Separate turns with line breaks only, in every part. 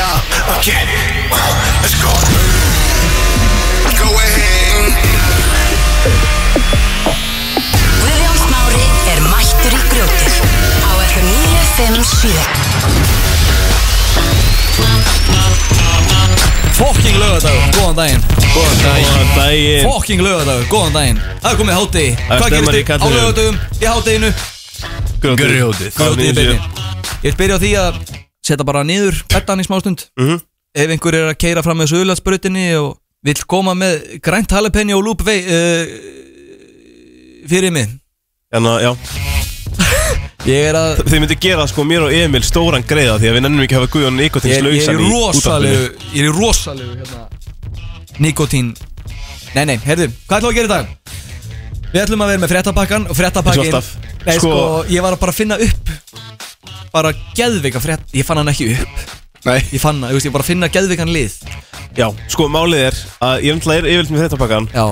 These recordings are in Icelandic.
Okay, well, let's go. Go ahead.
Guðjón Smári er mættur í grjótið á FM 957
Fokking lögadagur, góðan daginn Góðan
Góðan daginn
Fokking lögadagur, góðan daginn Það er komið hátegi
Það er
Hvað gerist
stemmar í
þig á
kallinum.
lögadagum í háteginu?
Grjótið
Grjótið í byrni Ég vil byrja á því að setja bara niður bettan í smástund
Mhm.
Ef einhver er að keira fram með sögulagsbrutinni og vill koma með grænt halepenni og lúp vei, uh, fyrir mig
Þannig að, Hérna, já,
Ég er að
þið myndi gera sko mér og Emil stóran greiða því að við nennum ekki að hafa Guðjón
Ég,
Nikotins
ég er
lausan
í
í
rosalegu Ég er í rosalegu hérna Nikotín Nei, nei, heyrðu, hvað ætlum við að gera í dag? Við ætlum að vera með fréttapakkan og fréttapakkin
Eins og alltaf.
Nei, sko,
Sko-
ég var að bara finna upp Bara geðvika frétt Ég fann hann ekki upp
Nei
Ég fann hann, ég veist, ég var bara að finna geðvikan lið
Já, sko málið er að ég náttúrulega er yfirlt með þetta pakkan
Já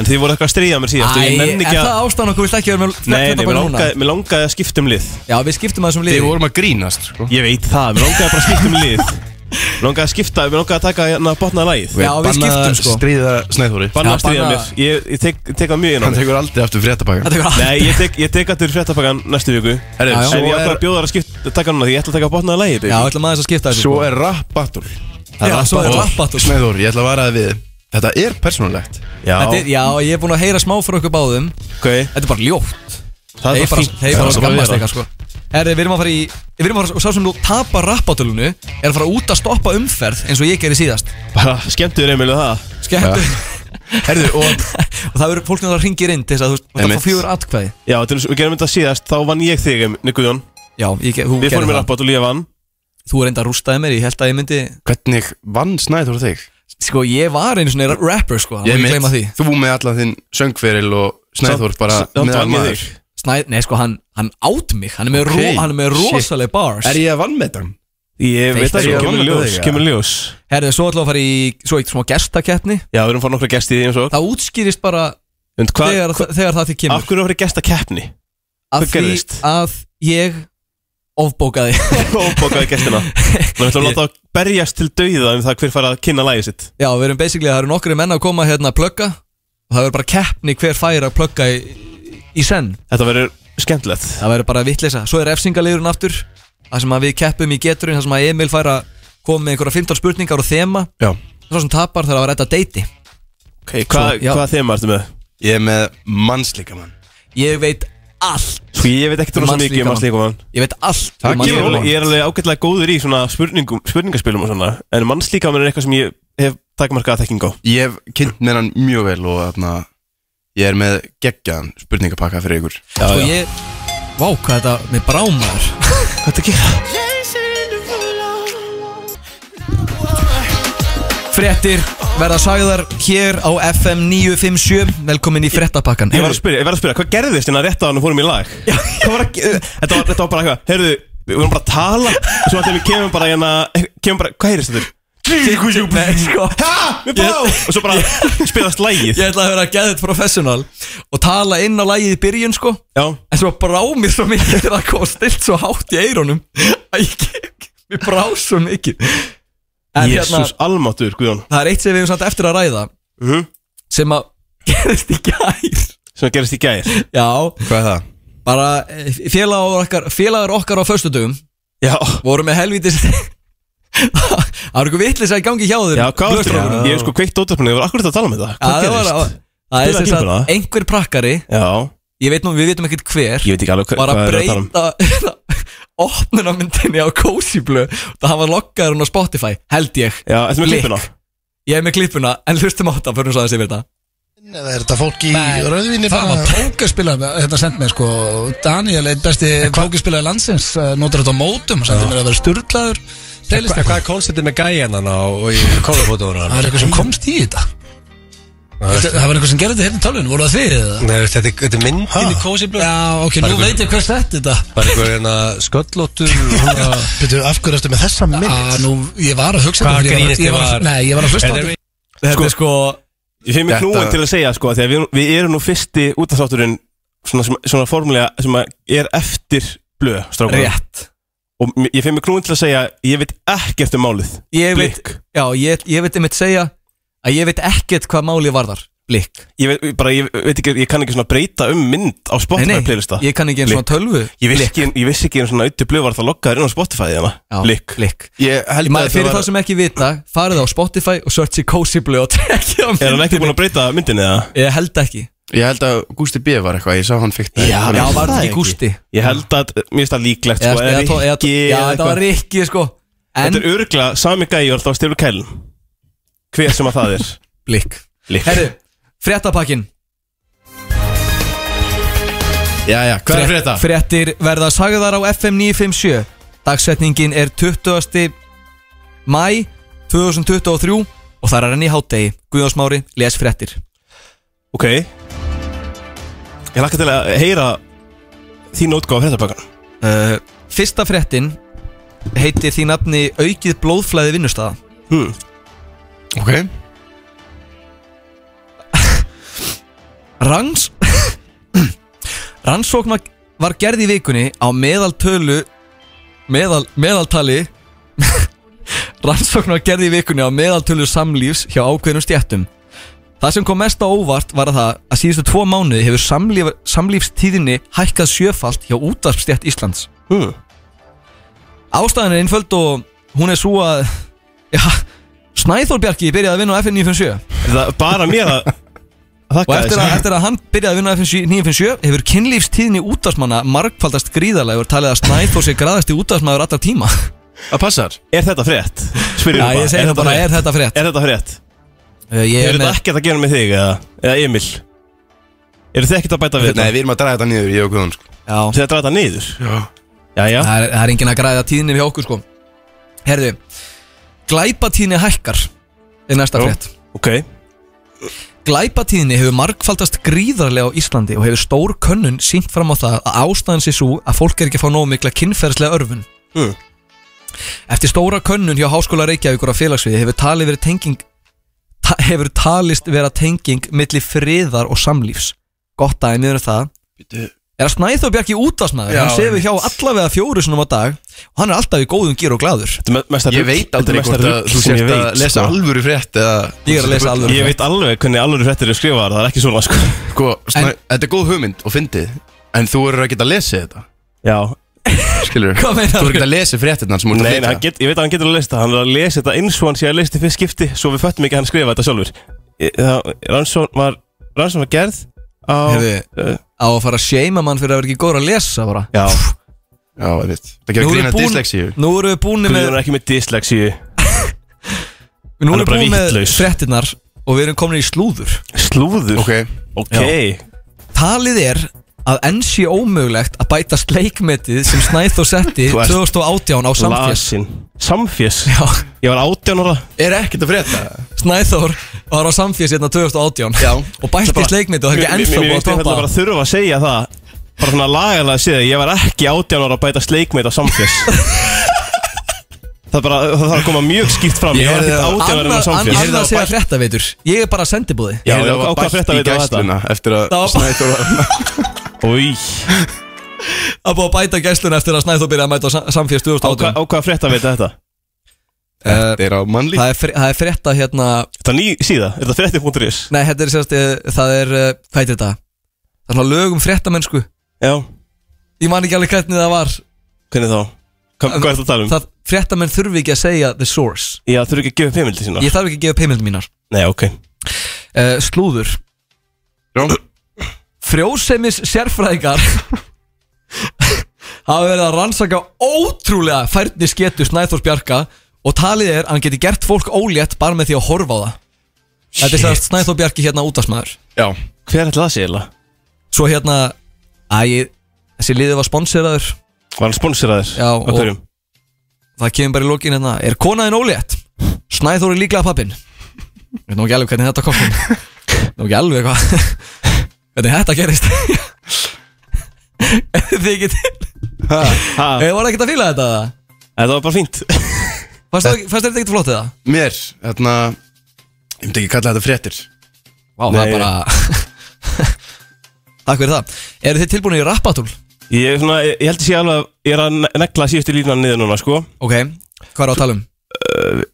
En þið voru eitthvað að stríða mér síðast og ég nenni
en
ekki
það
að
ástæðan okkur vilt ekki vera með
Nei, nei, mér
fréttapakkan núna
langaði, mér langaði að skipta um lið
Já, við skiptum um að þessum
Við
lið
vorum að grínast sko.
Ég veit það, mér langaði bara að skipta um lið Mér langaði að skipta, mér langaði að taka hérna botnaði lagið
Já, við
Bannað að
skiptum, sko.
stríða Snæþóri
Banna
Já,
að stríða
banna-
mér, ég, ég tek, tek að mjög inn á
Hann
mig
tekur aldrei aftur fréttapakkan
Þetta er hvað
Nei, ég tek, ég tek að þurr fréttapakkan næstu viku
Herri,
Já, já.
En
svo
ég
er
ætla að bjóða þar að skipta, taka hana því ég ætla að taka botnaði lagið
Já,
baby.
ætlum aðeins að skipta þessu
Svo
sko.
er rap battle Það
Já,
rap
svo er
battle.
rap battle.
Snæþóri, ég ætla að vara það við Þetta er persónulegt
Þetta er- Já, ég er búin að heyra smá frá okkur báðum
Ok,
Þetta er bara ljótt Þeir
það er bara
bara,
fínt
þeir
Það
bara
er bara
skammast
vera.
eitthvað sko Herri, við erum að fara í Við erum að fara, og sá sem nú tapar rappatölunu Er að fara út að stoppa umferð eins og ég gerði síðast
Bara skemmtur Emil og það
Skemmtu
Herðu, og
Og það verður fólk sem það ringir inn til þess að þú veist Það
Einmitt.
fá fjögur atkvæði
Já, til þess að við gerum þetta síðast Þá vann ég þig, Nikuðjón
Já, ég, ge- þú
Við fórum í
gerði það
rappátt og lífa vann
Þú reynda að rústaði mér, ég held að ég myndi
hvernig vann Snæþóri þig?
Sko, ég var einu svona rapper sko Ég
mitt.
mitt því.
Þú með allan þinn söngferil og Snæþór
Samt-
bara
samt vann
meðal
ég
maður.
þig.
Snæ, Nei, sko, hann, hann át mig Hann er með,
Ok,
ro, hann er með
shit.
rosaleg bars
Er ég að vann með þann?
Ég veit
Þeir-
það
þeir-
svo, kemur
vann
ljós,
þetta þig,
kemur ljós
Herri, svo ætlum við að fara í Svo eitt smá gestakeppni
Já, við erum fór nokkra gesti í því eins og
Það útskýrist bara
En hvað,
þegar, þegar það til
af
kemur
hverju voru gesta keppni?
Af
hvað
því
gerðist?
að ég Ofbókaði
Og bókaði gestina Við ætlum að láta að berjast til dauða um það hver fara að kynna lagið sitt
Já, við erum basically, það eru nokkri menn að koma hérna að plugga og það verður bara keppni hver fær að plugga í, í senn
Þetta verður skemmtilegt
Það verður bara vitleisa Svo er refsingalegurinn aftur Það sem að við keppum í geturinn Það sem að Emil fær að koma með einhverja 15 spurningar og þema
Já
Svo sem tapar þarf að vera þetta deiti
okay, Hvað
já.
hva þema ertu með?
Ég er með mannslíkamann
Ég veit allt um
Sko, ég veit ekkert rosa mikið um
Mannslíkamann.
að slíka mann
Ég veit allt
Takk,
um
Ég er
mannslíkamann.
alveg- ég er alveg ágætlega góður í svona spurningum, spurningaspilum og svona En mannslíkamann er eitthvað sem ég hef takmarkaða þekking á
Ég hef kynnt með hann mjög vel og þarna Ég er með geggjaðan spurningapakka fyrir ykkur
Sko ég Vá, hvað þetta með brámaður
Hvað ertu að gera?
Frettir verða sagðar hér á FM 957 Velkomin í frettapakkan
Ég var að spyrja, ég var að spyrja, hvað gerðist hérna rétt á hann og fórum í lag? Hvað var að, ge- þetta var, þetta var bara eitthvað, heyrðu, við vorum bara að tala Svo að við kemum bara hérna, kemum bara, hvað heyrðist þetta?
Nei, sko
Við bá! Og svo bara spilast lagið
Ég ætla að vera geðið professional og tala inn á lagið í byrjun sko
Já,
En svo brá mér svo mikið til að koma stilt svo hátt í eironum að ég gekk, mér brá svo mikið En hérna,
jésús almáttur, Guðjón
það er eitt sem við hefum samt eftir að ræða
Mhm.
sem að gerðist í gær
Sem gerðist í gær
Já,
Hvað er það?
bara eh, félagar okkar, félagar okkar á föstudögum
Já,
voru með helvítist Það var eitthvað vitlis að gangi hjá þeim
já, hvað var þetta?
blöðstrákunum.
Ég hef sko kveikt ótafnum, ég var akkurat að tala með það
Já,
Hvað
það var
gerðist?
Það er
Spilaðu
sem
klippuna.
sagt einhver prakkari
Já,
Ég veit nú, við veitum ekkert hver
ég veit ekki alveg hva-
var
hvað
að
er að tala um
breyta opnunarmyndinni á Cozy Blue og það var lokkaður hún á Spotify, held ég
Já, þetta með
Blik.
klippuna
Ég er með klippuna, en hlustum á þetta fyrir hún svo aðeins yfir þetta
Eða er þetta fólk í rauðvinni Það var pókerspilar, þetta sent mér sko Daniel, einn besti pókerspilar landsins eh, Notar þetta á mótum og sendi mér að vera sturglaður
Hva,
playlistann.
hvað er konseptið með
hérna
gæjan hann á og í
Það
kólabótunum?
var eitthvað sem komst í þetta Þetta- Það var eitthvað sem gerði þetta hérna í tölun Voru það þið eða?
Nei, þetta er- þetta er myndin í kósiblöð
Já, ok, nú
einhver-
veit ég hvers þetta þetta
Bara einhver hérna sköllóttur
Býtu, af hverju ertu með þessa mynd?
Á, Ah, Nú, ég var að hugsa
Hvað
þetta fyrir ég
grínist
ég
þið
að-
var?
Nei, ég var að hlusta á
Er
þetta
Þetta er sko,
Ég finn mig
Þetta-
knúin til að segja sko Þegar við, við erum nú fyrsti útastátturinn Svona, svona, svona formulega sem að er eftir blöð strákar
rétt
Og m- ég finn mig knúin til að segja Ég veit ekkert um málið
Ég veit,
Blik.
já, ég, ég veit einmitt segja að ég veit ekkert hvað máli varðar Blik
Ég veit, bara, ég veit ekki, ég kann ekki svona breyta um mynd á Spotify playlista
ég kann ekki eins og
Blik.
tölvu
Ég vissi ekki, ég vissi ekki einu svona auðvitað blöð var það lokkaður inn á Spotify hérna
Já,
Blik
Blik
Ég held
Ma,
að
Fyrir
var-
þá sem ekki vita, farið á Spotify og searchi Cozy Blue og tekja á
Er hann
myndinni.
ekki búin að breyta myndinni eða?
Ég held ekki
Ég held að Gústi B var eitthvað, ég sá hann fikt
Já, já var þetta ekki Gústi
Ég held að, mér finnst það líklegt
Eða-
sko,
eða tó- eða tó-
Rikki
Já,
eða
þetta var
eitthvað.
Rikki sko En
Þetta er örgla sami gæjur þá stilur kælin Hver sem að það er
Blik
Blik
Herru, fréttapakkin
Já, já, hvað er fyrir þetta?
Fréttir verða sagðar á FM 957 Dagsetningin er 20. mæ 2023 og það er henni í hátegi Guðjónsmári, les fréttir
Ok Ég lakka til að heyra þín útgáfa fréttarbakkan
uh, Fyrsta fréttin heitir því nafni aukið blóðflæði vinnustaða
hmm.
Ok
Ranns Rannsókn var- var gerð í vikunni á meðaltölu meðal, meðaltali Rannsókn var gerð í vikunni á meðaltölu samlífs hjá ákveðnum stjættum Það sem kom mest á óvart var að það að síðustu tvo mánuði hefur samlíf, samlífstíðinni hækkað sjöfalt hjá útvarpstjætt Íslands
Hmm.
Ástæðan er einföld og hún er svo að ja, Snæþór Bjarki byrjaði að vinna á FN 957
Það er bara mér að
Og
Þakka
eftir að, eftir að hann byrjaði að vinna á FN 957 hefur kynlífstíðni útdagsmanna margfaldast gríðarlega og er talið að Snæþór sé graðasti útdagsmaður allar tíma
Það passar
Er þetta frétt? Spyrir
Já, ég segi það bara, er þetta frétt?
Er þetta frétt?
Uh, Ég
Er
er
þetta
með,
ekkert að gera með þig eða, eða Emil? Eru þið ekkert að bæta
Nei,
við þetta?
Hérna, við erum að draga þetta niður, ég og Guðun sko.
já,
Þið að draga þetta niður? Já Jæja
það er, það er engin að græða tíðinni við okkur sko Herðu, glæpatíðni hækkar er næsta
Jú.
frétt
Ok
Glæpatíðni hefur margfaldast gríðarlega á Íslandi og hefur stór könnun sínt fram á það að ástæðan sé svo að fólk er ekki að fá nógu mikla kynferðslega örfun.
Hm.
Mm.
Eftir stóra könnun hjá Háskóla Reykjavíkur á félagsviði hefur talið verið tenging ta, hefur talist vera tenging milli friðar og samlífs. Gott dæmið er það
Bíddu.
er að Snæþór Bjarki útvarsmaður, hann sefur hjá allavega fjóru sinum á dag og hann er alltaf í góðum gýr og glæður.
Þetta er me- mesta
Ég
rugl-
veit
þetta er
aldrei
mesta
hvort að
rugl
þú
sem ég
sért að
veit,
lesa
sko.
alvöru frétt eða
Ég er að lesa alvöru
Ég veit alveg hvernig alveg fréttir eru skrifaðar Það er ekki svona sko
Sko, snæ, þetta er góð hugmynd og fyndið En þú eru að geta að lesa þetta
Já
Skilur
Hvað meinar
Þú eru
þú?
ekki að lesa fréttirnar sem úr
Nei, nei, hann get, ég veit að hann getur að lesa þetta Hann er að lesa þetta eins og hann sé að lesa þetta fyrir skipti Svo við föttum ekki að hann skrifa þetta sjálfur Ég- það- Rannsón var Rannsón var gerð á
Hefði,
Eh,
á að fara að seima mann fyrir að vera ekki góður að lesa bara.
Já
Já, ég veit Það gerir
Nú erum
grína
við búin-
dyslexíu
Nú erum við búin
Guðjón
með
er ekki með dyslexíu
Nú
Hann
erum
er bara
við búin með
vitlaus.
frettinnar og við erum komin í slúður
Slúður
Ok,
Ok
Talið er að enn sé ómögulegt að bæta sleikmetið sem Snæþór setti
Þú ert
2018 á samfés
Lasin Samfjess
Já,
Ég var 18 ára
er ekkert að frétta
Snæþór var á samfés hérna 2018
Já.
og bætti sleikmetið og það er ekki ennþá búið
Mér
að
veist ég
toppa
bara að þurfa að segja það Bara svona lagalega að segja Ég var ekki 18 ára að bæta sleikmeit á samfjöss Það er bara, það þarf að koma mjög skýrt fram Ég var
heyrði
ekki
það-
18 ára
Annað
með
annað
samfjöss
heyrði
að
það á
segja
bæ-
frettaveitur Ég er bara sendibúði
Já,
Ég
á
hef
á hvað
bætt
frétta
í
veitum við þetta?
gæsluna Eftir að
Það var bara-
Snæþór var-
Új,
Að búið að bæta gæsluna eftir að Snæþór byrjaði að mæta á samfés
á hvað
2018
á hvað frétta veit þetta?
Eh,
Þetta er á mannlíf
Það er fre- það er fretta hérna
Þetta er ný síða, er þetta frétti.is?
Nei, þetta er sérst, það er, eh, hvað heitir þetta? Það er svona lög um frettamennsku
Já,
Ég man ekki alveg hvernig það var
hvernig þá? Hva, hvað er þetta að tala um?
það fréttamenn þurfi ekki að segja the source
Já, þurfi ekki að gefa upp heimildi sína?
ég þarf ekki að gefa peimildin mínar
Nei, ok
uh, slúður
Já.
frjósemis sérfræðingar hafa verið að rannsaka ótrúlega færni sketu Snæþórs Bjarka og talið er að hann geti gert fólk ólétt bara með því að horfa á það þetta er sérst Snæþór Bjarki hérna útastmaður
Já
Hver ætla það sé eiginlega?
svo hérna æ, þessi liðið var sponseraður
Var hann sponsoraður?
Já,
Af
og-
hverjum?
það kemur bara í lokin hérna er konaðin ólétt Snæþór er líklega pappin ég veit nú ekki alveg hvernig þetta kom fram. ég veit nú ekki alveg hvað hvernig þetta gerist Ef þið ekki til
Ha,
ég var ekkert að fíla þetta eða?
þetta var bara fínt
fannst það- fannst þér þetta ekkert flott eða
Mér, hérna Ég myndi ekki kalla þetta fréttir
vá það er
Nei.
bara takk fyrir það eru þið tilbúin í rappatúl
Ég, er svona, ég, ég held að sé alveg að ég er að ne- negla síðustu línan niður núna sko
Ok, hvað er á að tala um?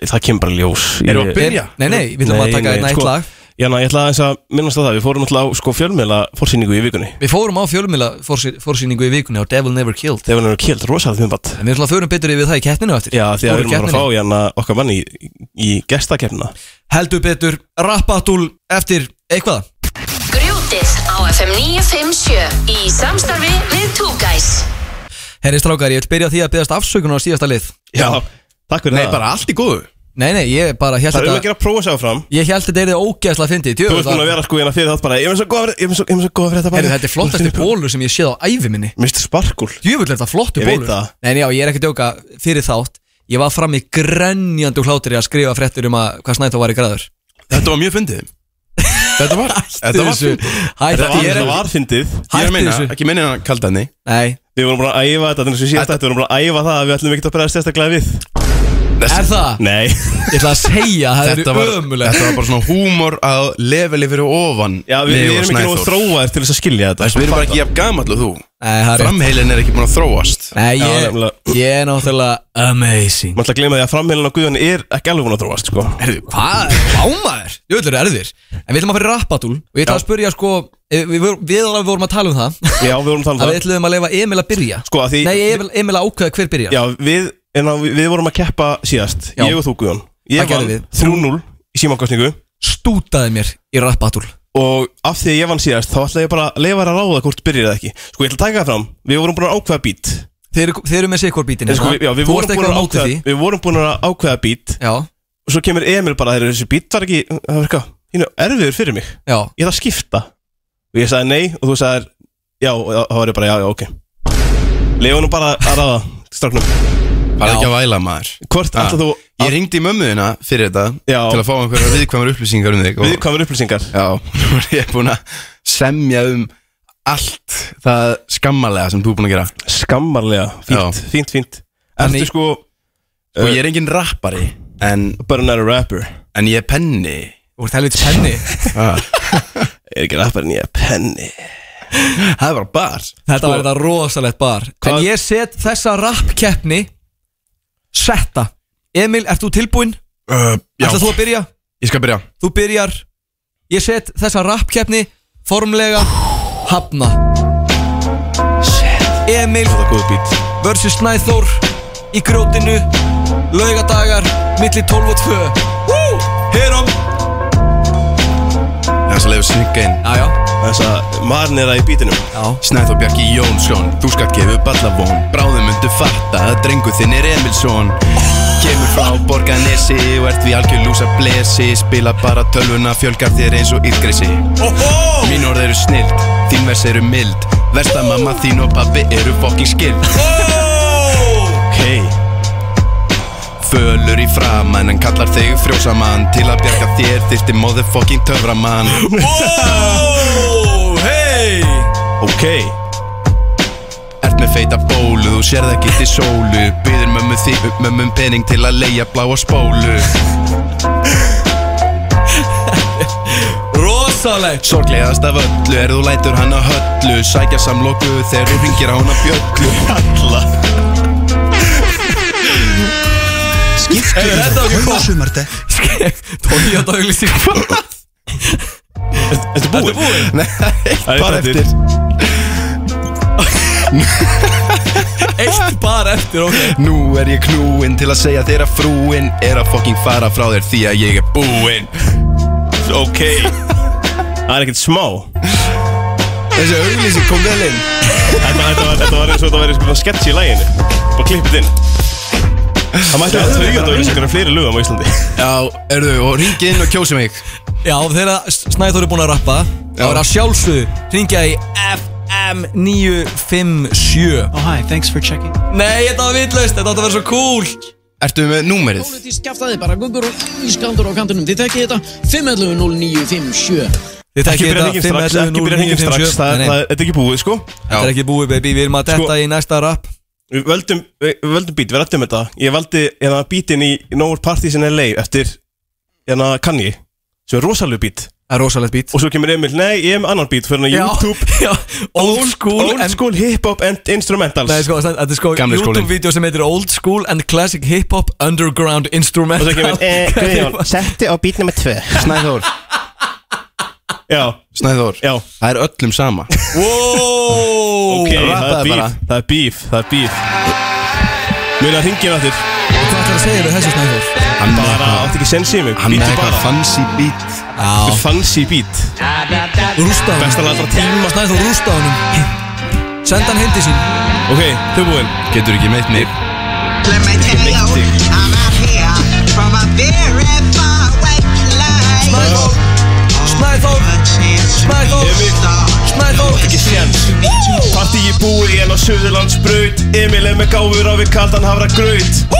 Það kemur bara í ljós Ég-
Erum við að byrja?
Nei, nei, við viljum að taka einn eitt
sko,
lag
Já, ná, ég ætla aðeins að minnast að það Við fórum alltaf á sko, fjölmiðla fórsýningu í vikunni
Við fórum á fjölumila fórsýningu í vikunni á Devil Never Killed
Þegar hann eru kilt, rosalega þumbart
En við ætlum að förum betur yfir það í keppninu á eftir
Já, því að
Stóru
við erum að
keppninni.
fara að fá hérna okkar manni í, í gestakefnina
Heldur betur, rappatúl eftir eitthvað
Grjótið á FM 957 í samstarfi við Two Guys
Herri strákar, ég vil byrja á því að byggast afsökunar á síðasta lið
Já, takk fyrir
Ah.
Nei,
það
bara allt í góðu
Nei, nei, ég bara held
Það er um
þetta
að gera prófa sér áfram
Ég held þetta er þið ógæðslega fyndið
Þú
djöfull
veist búin að
var-
vera sko hérna fyrir þátt bara Ég er með svo góð að vera Ég er með svo góð að vera þetta
Herri,
bara
þetta er flottasti bólur sem ég séð á ævi minni
Mr. Sparkle
Djöfull er þetta flottu
Ég
bólur
veit það.
Nei, nei, já, ég er ekki að djóka fyrir þátt Ég var fram í grenjandi hlátur í að skrifa fréttur um að hvað snæta var í græður
Þetta var mjög fyndið Þetta var Þetta var
Þessu-
fyndið
Hætti
Þetta var,
þessu
þetta
Ég er að
var fyndið
Hætti
meina,
þessu
ekki meina hann kaldan því
Nei,
Við vorum bara að æfa þetta Þannig sem síðast Við vorum bara að æfa það að Við ætlum ekki að bregðast sérstaklega við
er það?
Nei
Ég ætla að segja, það
Þetta
eru
var,
ömulegt
þetta var bara svona húmor að leveli fyrir ofan
Já, við,
Leó
við erum ekki nógu
Snæþór.
þróaðir til þess að
Þú
skilja þetta
veist, Við erum bara ekki jafn gamall og þú
Nei, það er rétt.
Framheilin er ekki búin að þróast
Nei,
Já,
ég,
nefnilega.
ég er náttúrulega amazing
Má ætla að gleyma því að framheilin á Guðan er ekki alveg búin að þróast sko
Herðu, hvað? Lámaður? Jú, þetta er erðir En við ætlum að fyrir rappatúl Og ég ætla að spyrja sko eh, Við, við, við alveg vorum að tala um það
Já, við vorum að tala
Að
um
við
það
ætlum að leifa Emil að byrja
Sko, að því
Nei, Emil, Emil að ákveða hver byrja
Já, við, en á, við vorum að keppa síðast
Já.
Ég og þú Guðan
Það
Ég
gerðum
vann
við.
3-0 í símakostningu
Stútaði mér í rappatúl
Og af því að ég vann síðast Þá ætla ég bara að leifa þér að ráða hvort byrjir eða ekki Sko, ég ætla að taka það fram Við vorum búin að ákveða bít
Þeir, eru- þeir eru með sikkur bítin
En sko, við- já, við,
Þú
vorum
ert
búin
eitthvað á
að
móti því
ákveða, við vorum búin að ákveða bít
Já,
Og svo kemur Emil bara Þegar þessi bít var ekki Það var eitthvað hínu, Erfiður fyrir mig
já
Ég ætla að skipta Og ég sagði nei Og þú sagðir Já, og þá var ég bara Já, já, ok Lefa nú bara að ráða Stráknum
Það er
Já.
ekki að væla maður
Hvort
Ah.
ætla þú
Ég ringdi í mömmuðina fyrir þetta
Já.
Til að fá einhverja viðkvæmur upplýsingar um þig og-
Viðkvæmur upplýsingar
Já, nú er ég búin að semja um allt það skammalega sem þú er búin að gera
Skammarlega Fínt,
Já.
fínt, fínt
Þannig-
Ertu sko
Og ég er engin rappari En,
Bara not a rapper
en ég er penni
Þú ert helvits penni
Ah.
Er ekki rappar en ég er penni
Það var bar
Þetta var þetta rosalegt bar En
Sko- Hvað-
ég set þessa rappkeppni Setta Emil, ert þú tilbúinn?
uh, Já,
Ætlar þú að byrja?
ég skal byrja
þú byrjar ég set þessa rappkeppni formlega hafna Emil
Það er góð bít
vs. Snæþór í grjótinu laugadagar milli 12 og 2 Woo! um. Heyrum
Þess að leifu synga inn
Já, já,
Þess að maðurinn er að í bítinum
já
Snæþór Bjarki Jónsson, þú skalt gefa upp alla von Bráðum myndu fatta að drengu þinn er Emilsson Kemur frá Borganesi og ert við algjör lúsa blesi Spila bara tölvuna, fjölgar þér eins og ytgresi Mín orð eru snild, þín vers eru mild Versta mamma þín og pabbi eru fokking skild
Ok
Fölur í framann en kallar þig frjósamann Til að bjarga þér þyrfti motherfucking töframann
Ok
Ert með feita bólu, þú sérð ekki til sólu Byður mömmu þig upp mömmum pening til að leia bláa spólu
Rosalegt
Sorglegast af öllu er þú lætur hann að höllu Sækja samloku þegar þú ringir á hann að bjöllu Alla
Þetta var ekki
Hvað sumar þetta?
kom Tóni á daglýsing
Þetta búið Það er
Bara
þetta.
eftir
Eitt bara eftir, ok
Nú er ég knúinn til að segja þér að frúinn Er að fucking fara frá þér því að ég er búinn
Ok Það er ekkert smá
Þessi auglýsing kom vel inn
Þetta, þetta, var, þetta var eins og þetta væri sko sketch í læginu Bara klippið inn Það mætti að þau að auðvitað ykkur fleiri lögum á Íslandi
Já, erðu, og ringið inn og kjósi mig
Já, þegar Snæþór er búinn að rappa þá er að sjálfsögðu ringja í FM 957
Oh, hi. Thanks for checking.
Nei, þetta var vitlaust, þetta átti að vera svo cool
Ertu með númerið?
Pólitísk kjaftaði bara guggur og ískaldur á kantunum. Þið tekkið þetta 511-0957.
Þið
Ekki
tekkið
byrja
þetta
hengið strax Ekki byrja hengið
511
strax Það er-
0957. Nei,
Sko- það
nei,
er þetta er ekki búið sko
Þetta er ekki búið, baby, við erum að detta í næsta rap
Við völdum, við við völdum bít, við rættum þetta Ég valdi hérna bítin í No More Parties in LA Eftir hérna Kanye Sem er rosalega bít
Það er rosalegt bít
Og svo kemur Emil, nei, ég er með annan beat Fyrir hann að YouTube
já, Old school
Old
and-
school hip-hop and instrumentals
Nei, sko, þetta er sko
Gamli skólinn.
YouTube-vídeó sem heitir Old School and Classic Hip Hop Underground Instrumental
Og svo kemur, eh, Guðjón
Setti á bít nummer 2 Snæður,
Já,
Snæður
já
Það er öllum sama
Wow
Ok, það er
rappaðu bara.
bíf Það er bíf, það er bíf Mjög að hringja náttir
Hvað ætlar að segja þér þessu snæður?
Hann er
Bara,
eitthvað-
átti ekki sens í mig
hann er
Bítu
eitthvað
bara
fancy beat
Já
Fancy beat
Rústaðunum
Besta lag allra tíma.
Tíma snæður rústaðunum Senda hann hindi sín
Ok, þau búinn
Getur ekki meitt mig
Let me tell you, I'm out here from a very far away place.
Snæður Snæður
A chance to
Snæður
be a star.
Snæður
Ekki séns Parti ég búið ég en á Suðurlandsbraut Emil er með gáfur á við kaldan hafra graut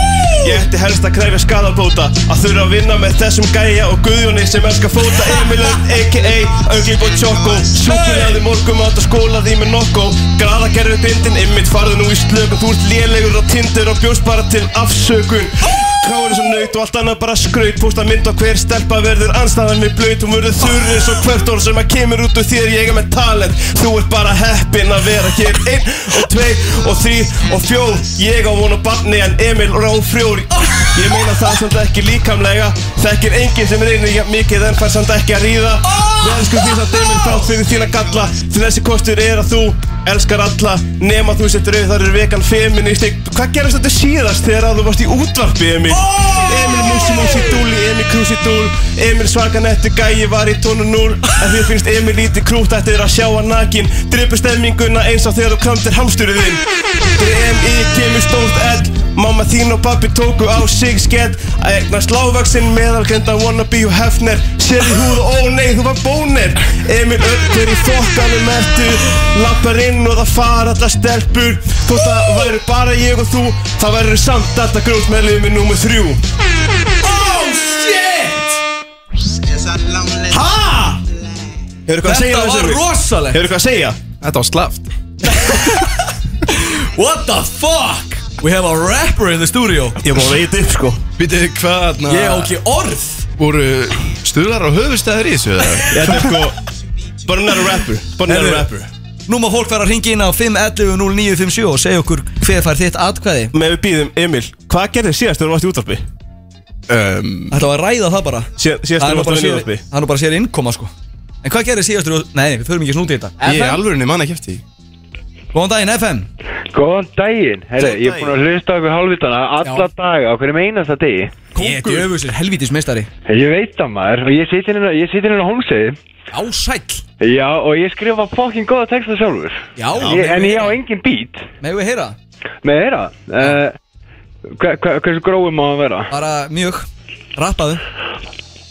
Ég ætti helst að kræfa skadabóta Að þurfa að vinna með þessum gæja Og guðjóni sem elskar fóta Emil Önd a.k.a. Önglip og Choco Súkulaði morgum átt að skóla því með nokko Graða gerðu bindin Emil farðu nú í slökun Þú ert lélegur á tindur og bjóst bara til afsökun Kráður eins og naut og allt annað bara skraut Pósta mynd á hver stelpa verður anstæðan við blaut Hún verður þurr eins og hvert orð sem að kemur út úr þér Ég er með talent, þú ert bara heppin að vera hér Einn og tveir og þrýr og fjór Ég á vonu barni en Emil rá frjór Ég meina það samt ekki líkamlega Þekkir enginn sem reynir jafn mikið en fær samt ekki að ríða Við elskum því samt Emil þátt fyrir þína galla Því þessi kostur er að þú elskar alla Nema þú setur auð þar er vegan feminist Hvað gerast þetta síðast þegar að þú varst í útvarpi Emil? Emil músi músi dúli, Emil krúsi dúl Emil svaka nettu gæi var í tónu núl En þér finnst Emil lítið krútt ættir að sjá hann nakin Drippur stemminguna eins og þegar þú kramtir hamsturinn þinn DMI kemur stórt ell Mamma þín og pappi tóku á sig skell Að egna slávaksinn meðalgrenda wannabe og hefner Sér í húð og ó nei þú var bónir Emil öllur í fokkanum ertu Lappar inn og það fara allar stelpur Þótt það væri bara ég og þú Það væri samt alltaf grjót með liðum við númur þrjú
It's a lonely
Hefur eitthvað að segja
Þetta
um
var
þessu?
rosalegt
Hefur eitthvað að segja?
Þetta var slaft
What the fuck We have a rapper in the studio
Ég er búin að veita upp sko
Býtu, hvað na,
Ég á ekki orð
voru stuðlar á höfustæður í þessu eða?
Þetta er sko Bara næra rapper Bara næra
Heyrðu.
rapper
Nú má fólk vera að ringa inn á 511 0957 og segja okkur hver fær þitt atkvæði
Með við býðum Emil Hvað gerðið síðast þegar þú varst í útvarpi?
um,
Þetta var að ræða það bara
Síðast
Það
þegar
er
þú
nú bara
varst í
sér,
útvarpi
það er nú bara sér innkoma sko En hvað gerir síðastur? og- Nei, nei, við förum ekki snútið í þetta
Ég er alvörinni mann ekki eftir því.
Góðan daginn FM
Góðan daginn, herru, ég er búin að hlusta á ykkur hálfvitana alla
Já.
daga, á hverjum einasta degi
Ég er djöfusir helvítismestari
Ég veit það maður, og ég sitt hérna, ég sitt hérna á hómsæði
Ásæll
Já, og ég skrifa fokkin góða texta sjálfur
Já,
ég, En ég á engin beat
Megum við heyra?
með þeirra uh, hver, hver, Hversu grófum má það vera?
Bara mjög Rappaðu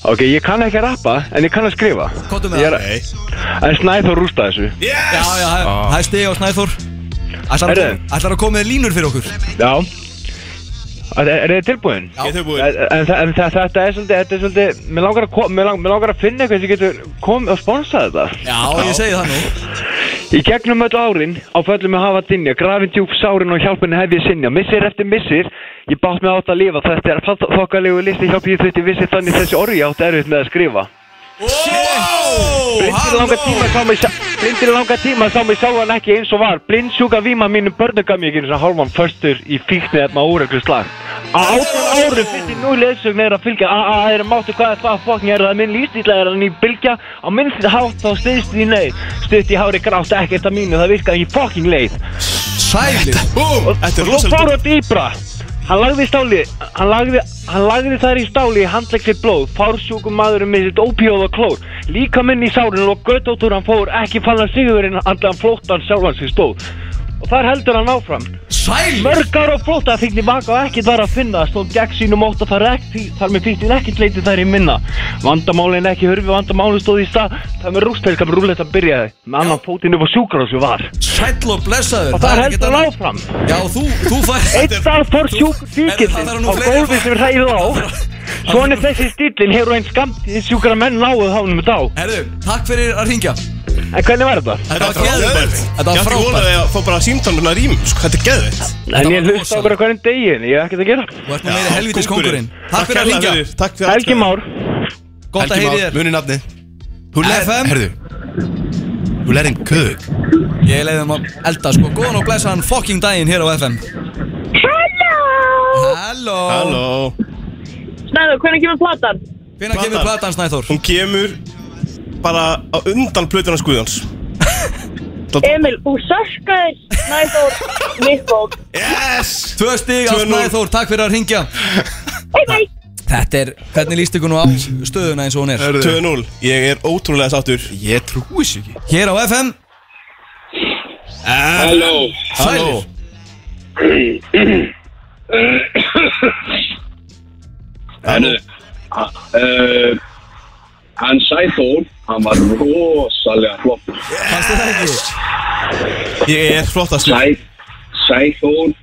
Ok, ég kann ekki að rappa, en ég kann að skrifa
Kottu með
Ég er,
það
En Snæþór rústa þessu
Já, já, það er- það er stig á Snæþór Ætlar að,
Heyrðu.
ætlar að koma með línur fyrir okkur
Já Er, er þið tilbúin?
Ég er tilbúin
En, en, þa- en þa- þetta er svolítið, þetta er svolítið, mér langar að, kom, mér lang, mér langar að finna eitthvað sem getur komið og sponsað þetta
Já, ég segi það nú
Í gegnum öll árin á föllum að hafa dynja, grafin djúb sárin og hjálpunni hef ég sinja. Missir eftir missir, ég bátt mig átt að lifa. Þetta er að þokkalegu listi hjálp ég þutti vissi þannig þessi orði ég átt erfitt með að skrifa. Blindir í langa tíma sá mig, sjá- blindir í langa tíma sá mig sjálfan ekki eins og var. Blindsjúka víma mínum börnum gaf mér ekki eins og hálfan förstur í fíknið efna óreglu slag. Á áttan árum fyrst í nú leðsögn er að fylgja A, a, er að máttu hvað er það fokkin er það minn lístíla er að ný bylgja á minn hátt þá stiðst því nei stutt í hári grátt ekkert að mínu það virkaði í fokkin leið
Sælir
Búm
og
Þetta er
svo
rosalega
fór það dýbra Hann lagði stáli, hann lagði, hann lagði þær í stáli í handleggsir blóð, fársjúkum maðurinn með sitt ópíóð og klór. Líka minn í sárinu og göttóttur hann fór, ekki fann hann sigurinn andan flóttan sjálfan sig stóð. Og þar heldur hann áfram.
Sælir
Mörgar og flóta fíknir vaka og ekkert var að finna Stóð gegn sínum ótt og það rekt því Þar með fíknir ekkert leiti þær í minna Vandamálin ekki hörfi, vandamálin stóð í stað Það með rústelka með rúletta byrjaði Með annan fótinn upp á sjúkarhásu var
Sæll og blessaður
Og það
er ekkert
heldur hann
annað.
áfram
Já, þú, þú fær
Einn dag fór sjúkur
Herðu, það
fíkillinn
þarf nú
á
fleiri
gólfi
að
sem
fara.
reyði á Svona er þessi stílinn hefur einn skamtið sjúkara menn náðu hánum dá
Herðu, takk fyrir að ringja
En hvernig var þetta?
Þetta var
frábært.
geðvægt Þetta var
Ég ætti
frábært
vonaði að fá bara símtáluna rým sko, Þetta er geðveitt
En
var
ég hlusta á
rosalegt.
bara hverjum degin, ég hef ekkert að gera
Þú ert nú meiri helvitis kóngurinn Takk fyrir að
kærlega
ringja
fyrir- Takk fyrir
Helgi Már
Gott að heyri þér
Muni nafni Þú lærði, herðu Þú lærði einn kuk
Ég leiði um að elda sko Góðan og blessaðan fucking daginn hér á FM Halló Halló
Halló
Snæður, hvernig kemur platan?
Hvenær kemur platan Snæþór?
Hún kemur bara á undan plötunars Guðjóns
Emil, þú sörskaðir Snæður Mikkold
Yes
Tvö stig á
2-0.
Snæþór, takk fyrir að ringja Þetta er, hvernig líst ykkur nú á stöðuna eins og hún er?
2-0 Ég er ótrúlega sáttur
Ég trúi sér ekki
Hér á FM
Halló Halló
Hennu, uh, hann Sæþór, hann var rosalega flott.
Fannst þið það ekki?
Ég er flottast
Sæ, Sæþór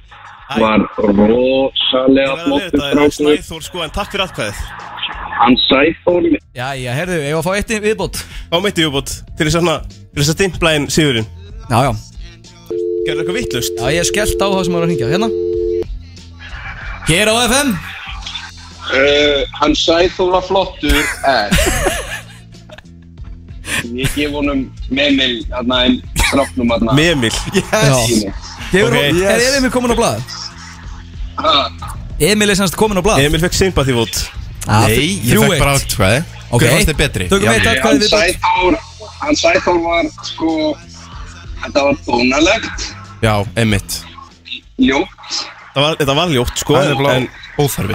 var rosalega flott.
Þetta er Snæþór sko en takk fyrir atkvæðið
Hann Sæþór
Jæja, herðu, ég var að fá eitt viðbót
Á mitt í viðbót Til þess að svona- til þess að stimpla inn Sigurinn
Já, já
Gerðu eitthvað vittlust
Já, ég skellt á það sem var að ringja, hérna Hér á FM
Uh, hann Sæþór var flottur, en... Ég gef honum memil, hann aðeins strafnum hann að...
Memil?
Yes Gefur
Ok,
hún,
yes.
er Emil komin á blað? Emil er semst komin á blað
Emil fekk sympathy vote
Ah,
Nei, ég fekk bara atkvæði
Ok.
Hver fannst þið betri?
Tökum eitt atkvæði
Hann Sæþór, hann Sæþór var sko, þetta var dónalegt,
Já, einmitt
jú,
Það var, þetta var ljótt sko
Það er bara
óþarfi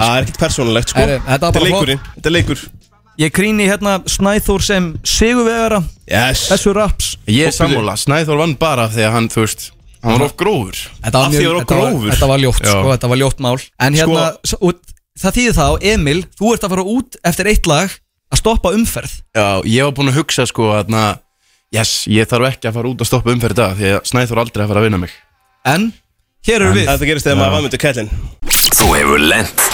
Ah,
Það er ekkert persónulegt sko
Herri, þetta var bara
er
flott.
leikurinn Þetta er leikur
Ég krýni hérna Snæþór sem Sigurvegara
Yes
Þessu raps
Ég er sammála, Snæþór vann bara af því að hann, þú veist Hann var of grófur
Þetta var, mjög, þetta, var, þetta var ljótt,
Já.
sko, þetta var ljótt mál En hérna, sko, og, það þýðir þá, Emil, þú ert að fara út eftir eitt lag að stoppa umferð
Já, ég var búinn að hugsa sko að Yes, ég þarf ekki að fara út að stoppa umferð í dag Því að Snæþór aldrei að fara að vinna mig
En, hér eru
En-
við
Þetta gerist þegar maður var
myndu kællin
Þú hefur lent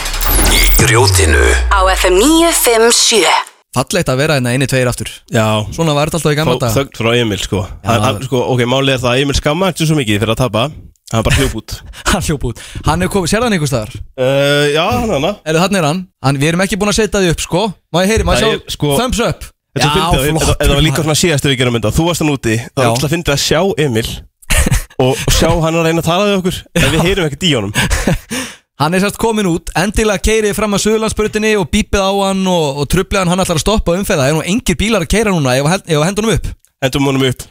í grjótinu
Á FM 957
Fallegt að vera hérna einni tveir aftur
Já
Svona var þetta alltaf í gamla
Þó-
dag
Þögn frá Emil sko hann, hann, sko, Ok, málið er það að Emil skamma ekki svo mikið fyrir að tapa Hann bara hljóp út
Hann hljóp út Hann er komið, sér hann einhvers staðar?
uh, Já, hann hana
Erðu, hann er hann. hann Við erum ekki búin að setja því upp, sko Má ég heyri, má
Það
ég
er,
sjá
sko-
thumbs up
Þetta fyndi að þetta- þetta var líka svona síðast við gerum mynda Þú varst hann úti Það
Já.
var alltaf að fyndi að sjá Emil Og og sjá hann að reyna að tala við okkur En við heyrum ekkert í honum
Hann er sérst komin út, endilega keirið fram að Suðurlandsbrutinni og bípið á hann og, og trublið hann, hann ætlar að stoppa og umfæða Það er nú engir bílar að keira núna, ég var hendunum upp
Hendum honum upp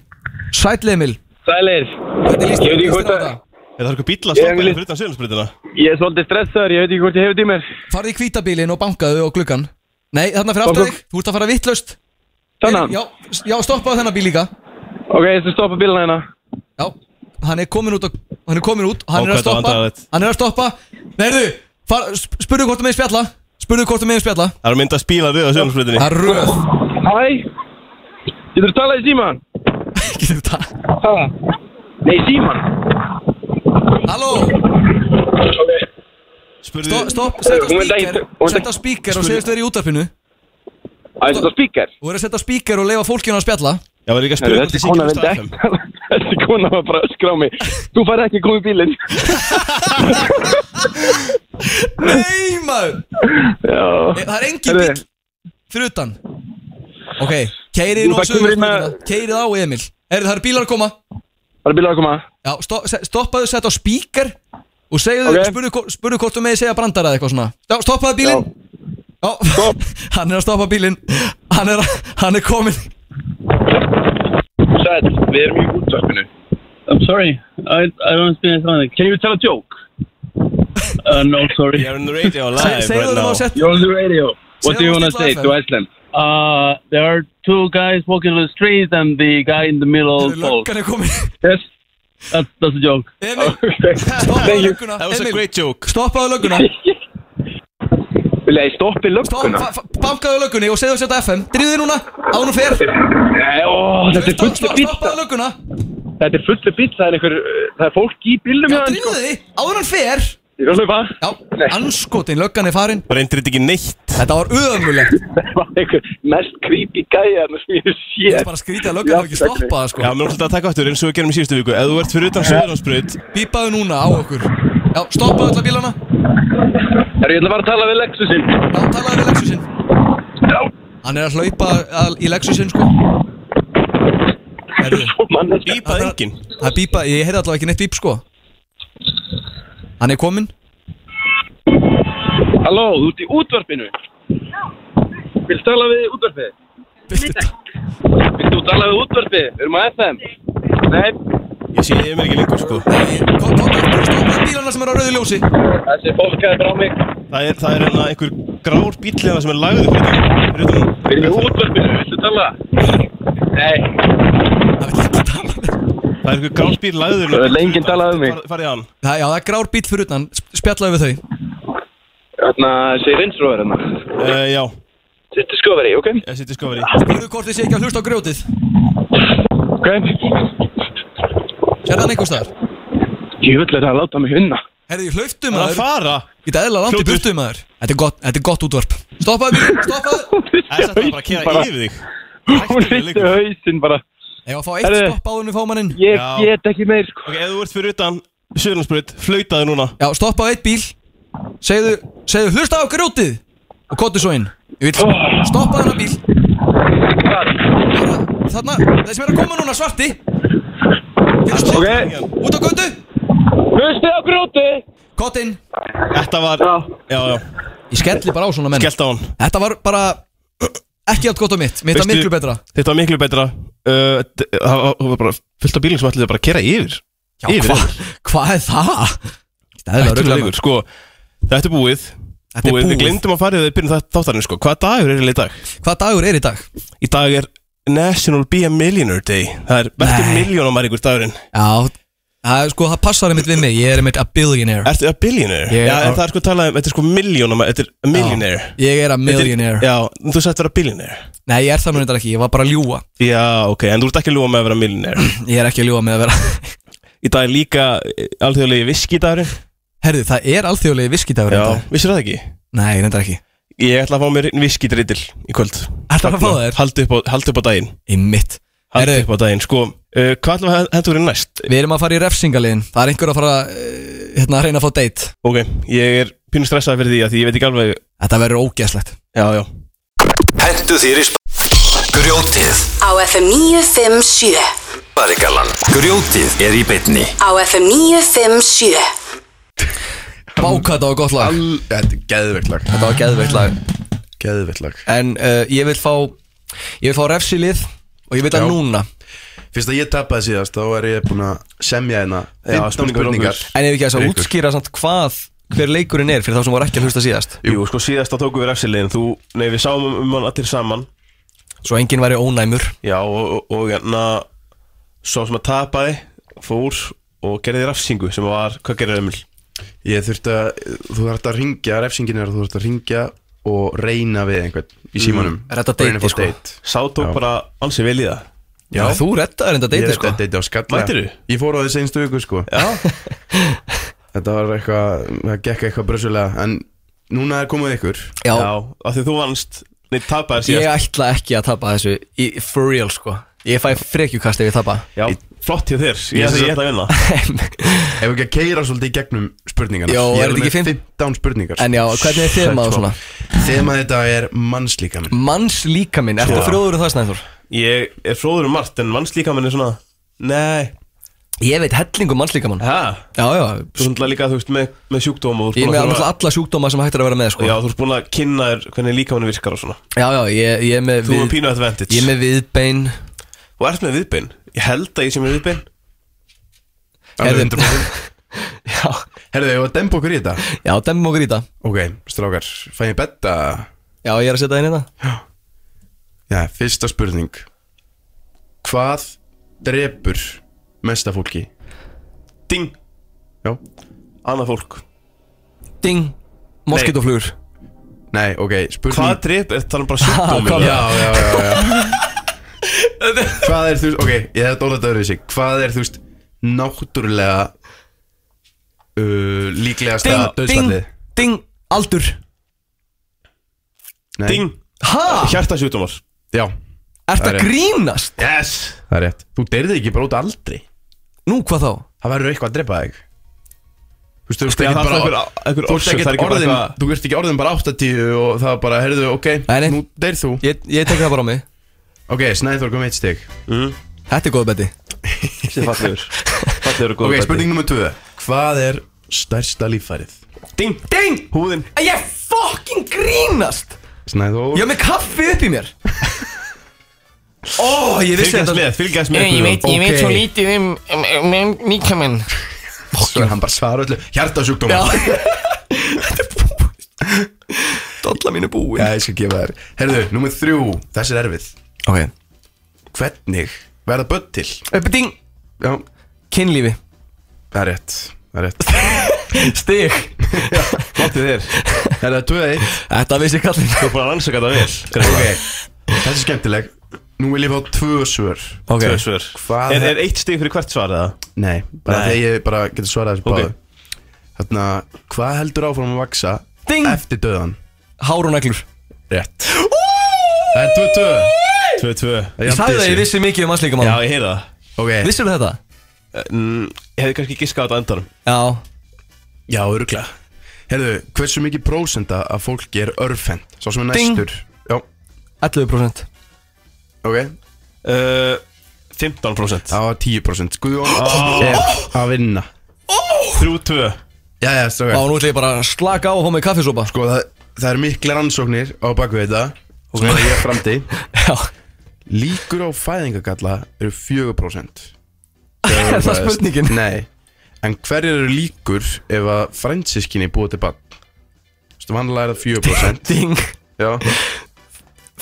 Sæll Emil
Sælir
Hvernig líst
Ég veit ekki hvort að
Er það eitthvað bíl að
Ég
stoppa
vil-
hérna fyrir utan sögurnsbrytina?
Ég er svolítið stressaður, ég veit ekki hvort ég hefur tímir
Farði í hvítabílinn og bankaðu á gluggan Nei, þarna fyrir aftur
Banka-
þig, þú ert að fara vittlaust
Þennan?
Já, já stoppaðu þennan bíl líka
Ok, ég skal stoppa bílana hérna
Já, hann er komin út, og, hann er, komin út hann,
Ó,
er
hvað þetta var
að stoppa,
vandræðalegt.
hann er að stoppa Neyrðu, far, sp- spurðu hvort þú meginn spjalla Spurðu hvort þú meginn spjalla
Það er mynda að spíla rauða sögurnsbrytinni
Það er röð
Hæ Getur þú talað í síman?
Getur þú talað?
Hæ? Nei, síman
Halló
Spurðu
Stopp, setta
Hún veit ekki-
spíker
hún veit
Setta
ekki-
spíker og
Spurðu-
segist verið í útarpinu
Æ, þetta spíker
Þú er að setja spíker og leifa fólkinu að spjalla
Já, var líka
Herru, Þessi kona vildi ekki Þessi kona var bara að öskra á mig Þú fær ekki að koma í bílinn
Nei maður
Já
Nei, Það er engin bíl fyrir utan Ok, keirið
Jú,
nú
það kemur inn að-
sögurspurtina Keirið á Emil Erið það eru bílar að koma
Það er bílar að koma
Já, sto se- stoppaðu, setja á spíker Og segðu,
Ok.
spurðu, hvo- spurðu hvort þú meði segja brandara eða eitthvað svona Já, stoppaðu bílinn Já, Stopp. hann er að stoppa bílinn Hann er, að- hann er komin
Sæll, við erum í útvarpinu.
I'm sorry. I I don't understand something. Can you tell a joke? Uh, no, sorry. You're
on the radio
live Say- say right what now. about that-
You're on the radio.
Say
What do you
what
want to
about
say
that.
to Iceland? Uh, there are two guys walking on the street, and the guy in the middle falls.
Löggan er komin
Yes, that's that's a joke.
Emil,
Thank
stoppaðu
you.
lögguna
That was a
Emil,
great
joke
Stoppaðu lögguna
Vilja ég stoppi
Stopp,
lögguna?
fa- fa- bankaðu löggunni og segðu að setja FM Dríðu þig núna, án og fer
Nei, ó, þetta er fullt
Stoppaðu stoppaðu lögguna
Þetta er fullt bíl, það er einhver uh, Það er fólk í bílnum
Já,
hérna,
dríðu þig, áður en hann fer
Ég er að hlaupa
Já, anskotin, löggan er farin
Reyndir þetta ekki neitt
Þetta var öðumulegt
Það var einhver mest creepy gæja þarna sem ég hef séð
Þetta er
bara skrítið að löggan hafi ekki stoppað það, sko.
Já, mér er alltaf að taka aftur eins og við gerum í síðustu viku Ef þú ert fyrir utan söðurhansbröð
Bípaðu núna á okkur Já, stoppaðu alla bílana
Herru, ég ætla bara að tala við Lexusinn
Já, talaðu við Lexusinn Hann er að hlaupa að, í Lexusin sko Herðu Bípað enginn Það er bípað, ég heyrði allavega ekki neitt bíp sko Hann er kominn
Halló, þú ert í útvarpinu? Já. Viltu tala við útvarpið? Viltu tala við útvarpið? Við erum á FM. Nei.
Ég sé yfir mig ekki lengur sko
Bílarna sem er á rauðu ljósi
Þessi fólk er frá mig.
Það er, það er hérna einhver grár bíll hérna sem er lagður fyrir utan
Við erum í útvarpinu, viltu tala? Nei.
Það er einhver grár bíll lagður hérna.
Það er lengið talað um mig.
Farið hann
Það, já, það er grár bíl fyrir utan, sp- spjallaðu við þau
Þarna sé rinsróður hérna.
uh, Já.
Sitt Discovery, ok?
Já, sitt Discovery.
Spurðu hvort þið sé ekki að hlusta á grjótið
Ok.
Er það einhvers staðar?
Ég vil þetta að láta mig unna.
Herðu, ég hlauftum
Hann er að
maður
fara
Ég dæðla langt í burtu maður Þetta er gott, þetta er gott útvarp Stoppaðu bíl, stoppaðu
Það er bara að kera yfir þig
Hún rýtti hausinn bara.
Ég var að fá eitt
Herðu.
stopp áður en við fáum hann inn
Ég get ekki meir sko
Ok, ef þú ert fyrir utan Suðurlandsbröð, flautaðu núna
Já, stoppaðu eitt bíl Segðu, segðu, hlusta á grjótið Og kóttu svo inn Ég vil stoppaðu hennar bíl Bara, Þarna, þeir sem er að koma núna svarti
Ok
Út á götu
Hlustu á grjóti
Kótt inn
Þetta var Já, já
Ég skelli bara á svona menn
Skellt á hann
Þetta var bara Ekki allt gott á mitt Mitt var
Veistu-
miklu betra
Þetta var miklu betra uh, d- Það var- það var bara fullt af bílum sem ætlaði bara að kera yfir
Já, hvað hva er það? Það er
Ætlulegur, sko Þetta er
Þetta er
búið búið. Við
búið.
glemdum að fara í það í byrjun þátt- þáttarins sko Hvaða dagur er eiginlega í dag?
Hvaða dagur er í dag?
Í dag er National Be a Millionaire Day Það er verður miljónamæringur dagurinn
Já, það, er sko, það passar einmitt við mig Ég er einmitt a billionaire
Ertu að billionaire?
Ég er
Já,
á-
en það er sko talað um Þetta er sko miljónamæringur Þetta er a millionaire
Ég er a millionaire
Já, en þú sagðist vera billionaire
Nei, ég er það nú reyndar ekki Ég var bara að ljúa
Já, ok, en þú ert ekki að ljúa með að vera millionaire
Ég er ekki að ljúa með að vera
Í dag er líka eh, alþjóðlegi viskidagurinn
Herðu, það er alþjóðlegi viskidagur
Já, vissir það ekki?
Nei, reyndar ekki
Ég ætla að fá mér viskidritil í kvöld
Ertu að fá þér?
Haldi upp á, haldi upp á daginn
Í mitt
Haldi upp á daginn, sko uh, Hvað ætlum við að hendur verið næst?
Við erum að fara í refsingaliðin Það er einhver að fara eh, hérna, að reyna að fá date
Ok, ég er pínu stressaði fyrir því að því ég veit ekki alveg
Þetta verður ógeðslegt
Já, já
Hentu þér í sp... Grjótið
Á FM 957
Barikalan Grjótið er í beinni
Á FM 957
Báka, þetta var gott lag
Þetta er geðveikt lag
Þetta var geðveikt lag
Geðveikt lag
En uh, ég vil fá Ég vil fá refsilið Og ég vil
Já.
að núna
Fyrst að ég tapaði síðast þá er ég búin að semja hérna 15
spurningar
spurningar
okkur.
En ef ekki að þess
Fyrir
að
ykkur.
útskýra samt hvað Hver leikurinn er fyrir þá sem voru ekki að hlusta síðast
Jú, sko síðast þá tókum við refsilegin Þú, nei, við sáum um- um hann allir saman
Svo enginn væri ónæmur
Já, og, og, og hérna Svo sem að tapaði, fór og gerði refsingu sem var, hvað gerði Emil?
Ég þurfti að, þú þarft að ringja, refsingin er að þú þarft að ringja og reyna við einhvern í símanum
Redda
Og reyna
deiti,
að fá
sko.
Sá tók
Já.
bara ansi vel í það
Já,
Þú rettaði reynda
ég
deiti
er
sko
að deiti á skalla
Mætirðu?
Ég fór á því seinstu viku sko
Já
Þetta var eitthvað, það gekk eitthvað brössulega En núna er komið ykkur
Já.
af því þú vannst, nei, tapaði
Ég
síðast
ætla ekki að tapa þessu í, For real sko Ég fæ frekjukast ef ég tapa
Já, flott hjá þér,
Ég-
ég ætla ég ætla að vinna
Ef ekki að keira svolítið í gegnum spurningarna
Jó, er
Ég
þetta
alveg
ekki
með
fimm-
15 spurningar
En já, hvernig er þemað og svona?
Þemað þetta er mannslíkamin
Manns líka minn, ertu
Já.
frjóður um það Snæður?
Ég er fróður um margt en mannslíkaminn er svona Nei
Ég veit hellingu manns líka mann
Hæ?
Já, já,
Þú hundla líka, þú veist, með, með sjúkdóm og þú ert
ég er
búin
með
að
alveg
þurfa-
alla sjúkdóma sem hægt er að vera með sko
Já, þú ert búin að kynna þér hvernig líkaminn virkar og svona
já, já ég, ég er með
Þú erum pínu advantage
Ég er með viðbein
Og ert með viðbein Ég held að ég sé með viðbein
Herðu- Já,
Herðu, ég var að dempa okkur í þetta
já, demmum okkur í þetta
Ok, strákar, fæ ég betta
Já, ég er að setja það inn í þetta
Já, fyrsta spurning Hvað drepur mesta fólki?
Ding
Já
Annað fólk
Ding, moskitoflugur
Nei, ok, spurning
Hvað drep er það bara sjúkdómin
Já, já, já, já. Hvað er þú veist, ok, ég hef dólat að vera þessi Hvað er þú veist náttúrulega uh, líklegast að
Ding, ding,
döðstallið?
ding, aldur
Ding
Ah.
Ha,
Hjartasjúkdómar
Já,
ert
það
að
er-
grínast?
Yes
það er rétt Þú deyrði ekki bara út aldrei
Nú, hvað þá?
Það verður eitthvað að drepa þig Þú veist, þú ert
Já,
ekki
það er
bara
einhver-
Þú
einhver
ert
orsök,
ekki
það er ekki bara
orðin
eitthvað-
Þú ert ekki orðin bara 80 og það bara, heyrðu, ok,
nei.
nú deyr þú
Ég, ég tek það bara á mig
Ok, Snæður kom eitt stig
Þetta er góð beti
Þetta fallegur Fallegur
og góður
Ok,
beti.
spurning nummer 2 Hvað er stærsta líffærið? Ding, ding Húðin
Að ég fucking grínast
Snæður
Ég hef með kaffi upp í mér Ó, ég vissi
Fylgjast
þetta
með, fylgjast með
Ég veit, ég veit
Ok.
svo lítið um, um, um, um líkaminn
Svo er hann bara svara öllu Hjartasjúkdóma Dolla mínu búin Já, ég skal gefa þér Herðu, nummið þrjú Þessi er erfið
Ok
Hvernig verða börn til?
Öppeting
Já
Kynlífi
Það er rétt Það er rétt
Stig
Láttu þér Er það 2-1?
Þetta vissi kallinn
Þú er bara að rannsaka það vel Ok Þetta er skemmtileg Nú vil ég fá tvö svör
Ok. Tvö svör.
Hvað
Er, er eitt stig fyrir hvert svar eða?
Nei, bara
Nei.
þegar ég bara getur svarað þessu okay.
Ok.
báðu Þarna, hvað heldur áfram að vaksa Ding. eftir döðan?
Hár og neglur
Rétt Það er 2-2
2-2
Ég sagði það, ég vissi mikið um aðslíka mál
Já, ég heyrði það
Ok
Vissirðu þetta?
Mm, Ég hefði kannski giskað á þetta á endanum
Já
Já, öruglega Herðu, hversu mikið prósenda að fólki er örfend? Sá sem er
Ding.
næstur Já
11%
Ok
uh, 15%
Það var 10% Guðjón
Ah.
Ó.
er að vinna
3-2
Já, já, strákar
Á, nú ætla ég bara að slaka á og fá mig kaffisopa
Sko, það, það eru mikla rannsóknir á baku þetta og sem ég er framdi Líkur á fæðingagalla eru 4%
Er það spurningin?
Nei En hverjar eru líkur ef að fransískinni búið til bann? Þú veist, vanlega er það 4%
Ding
Já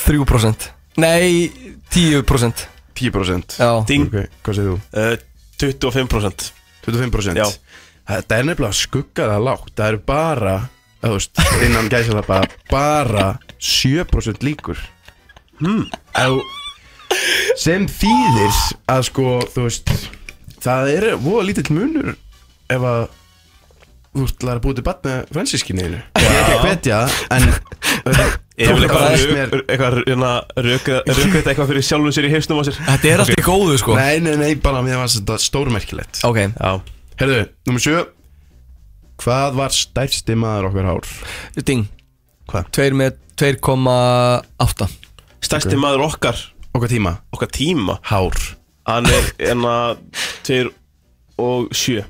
3% Nei, 10%
10%
Já
Ding.
Ok, hvað segir þú?
uh, 25%
25%
Já.
Þetta er nefnilega skuggaða lágt Það eru bara, þú veist, innan gæsa það bara Bara 7% líkur hmm. Sem þýðir að sko, þú veist Það er voða lítill munur Ef að þú ætlar að búið til batna fransískinni þínu Ég er ekki að hvetja, en
Ég vil
Tók aðeins
eitthvað
mér-
rök- eitthvað rökvita eitthvað fyrir sjálfum sér í heisnum á sér
Þetta er allt í góðu sko
Nei, nei, nei, bara mér var þetta stórmerkilegt
Ok
Já Herðu, nummer sjö Hvað var stærsti maður okkar hár?
Ding
Hvað?
2 með 2,8
Stærsti maður okkar
Okkar tíma
Okkar tíma
Hár
Hann er enna 2 og 7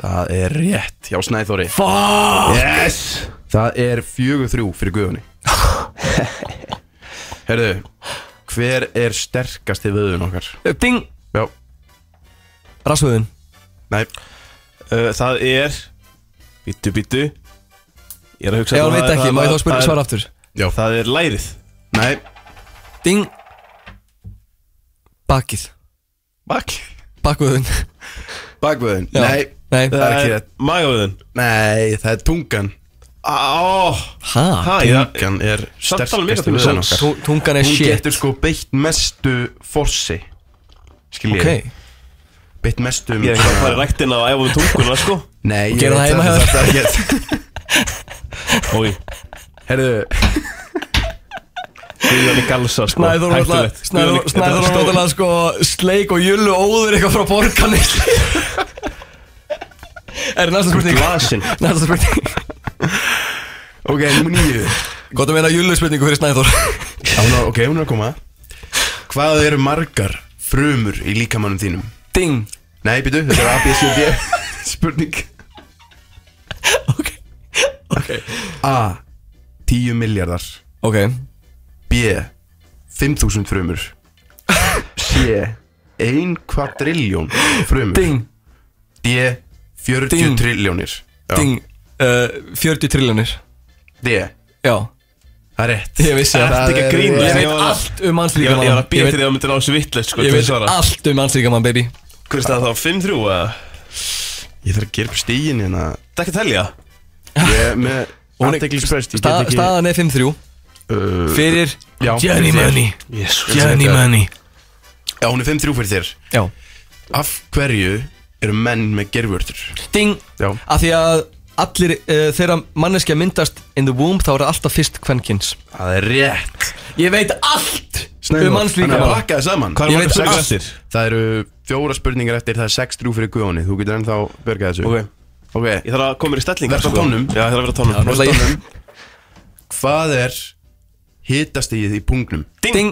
Það er rétt hjá Snæþóri
Fuck!
Yes Það er fjögur þrjú fyrir guðunni Herðu Hver er sterkasti vöðun okkar?
Eh, Ding
Já
Rassvöðun
Nei
uh, Það er Bítu, bítu Ég er að hugsa
Já,
það
veit
er-
ekki,
það-
má ég þá
það-
spyrja-
það er-
svara aftur?
Já
Það er lærið
Nei
Ding Bakið
Bakið
Bakvöðun
Bakvöðun?
Já.
Nei
Nei.
Það er ekki
Það er
rétt Magavöðun? Nei, það er tungan
oh,
Hæ?
Tungan er
Samt
um
alveg
sterkasti
mikið
vöðun
tungan.
okkar
Tung- tungan er
Hún
shit.
getur sko beitt mestu fossi Skil ég
Ok.
Beitt mestu um
Ég er ekki að fara í ræktina og æfa við tunguna sko
Nei,
Gera það heima hjá þér?
Það er ekki
Ói
Herðu
Guðjón í galsa sko
Snæður
Hættulegt. Guðjón í-
Snæður
Þetta er
náttúrulega sko Sleik og jullu óður eitthvað frá borgarni Er næsta spurning
Glasin
Næsta spurning
Ok, nummer nýju
Gott að meina jullu spurningu fyrir Snæður
Já, hún er- Ok, hún er að koma Hvað eru margar frumur í líkamannum þínum?
Ding
Nei, býtu, þetta er ABCD Spurning A 10 miljardar
Ok
B 5000 frumur C 1 kvadrilljón frumur
Ding.
D 40
Ding.
trilljónir Já.
Ding uh, 40 triljónir
D
Já
Það er rétt
Ég vissi
Ertu
það
ekki að grínast?
Ég
Ég
veit
var-
allt um
Ég var-
mannslíkamann
ég var að býja
Ég
til því
veit-
að myndi ná þessu vittlust sko
Ég
til
veit
svara.
allt um mannslíkamann, baby
Hvernig staði það á 5-3 eða?
Ég þarf að gera upp stígin hérna
Þetta er ekki að telja
Ég er með
Hún er-
aðdeglis best Ég
Sta-
get ekki
Staðan er 5-3
uh,
Fyrir
Já,
Johnny
fyrir þér.
Money
Jesus,
Johnny
þetta er-
Money
Já, hún er 5-3 fyrir þér
Já
Af hverju eru menn með gerfurtur?
Ding
Já
Af því að allir uh, þeirra manneskja myndast in the womb þá er það alltaf fyrst kvenkins
Það er rétt
Ég veit allt
Snæður,
um
þannig að
mannslíkamann
pakka þér saman
Hvað er Ég margar veit sex allt.
Það eru fjóra spurningar eftir, það er sex trú fyrir guðóni Þú getur ennþá börgað þessu
Ok.
okay.
Ég þarf að koma mér í stellingar
Verða á
sko.
tónum
Já, ég þarf að vera á tónum.
Já, verða á tónum. Hvað er hitastigið í pungnum?
Ding, Ding.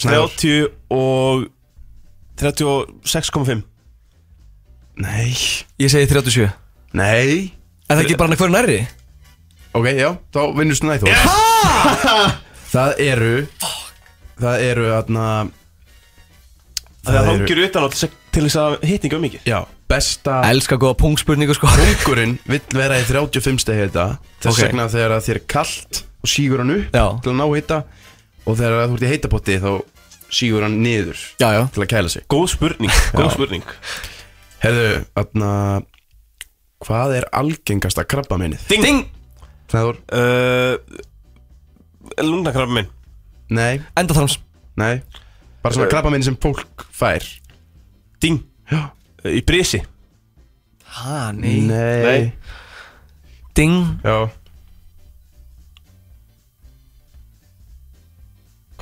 30 og 36,5
Nei
Ég segi 37
Nei
Er það ekki bara hann hverju nærri?
Ok, já, þá vinnur snæði þú Það eru Það eru aðna
Það er hangir utan á til þess- til þess að hitninga um mikið
Já, besta
Elskar góða pungspurningu sko
Pungurinn vill vera í 35 stegi þetta Þess
Ok.
vegna þegar að þér er kallt og sígur hann upp já. til að ná hita og þegar að þú ert í heitapotti þá sígur hann niður
já, já.
til að kæla sig
Góð spurning, góð spurning
Herðu, atna, hvað er algengasta krabba minnið?
Ding, Ding.
Það voru
uh, Lungnakrabba minn
Nei
Endaþarms
Nei Bara svona
Eh.
krabba minn sem fólk fær
Ding
Já
Í brisi
Ha,
Nei
Ding
Já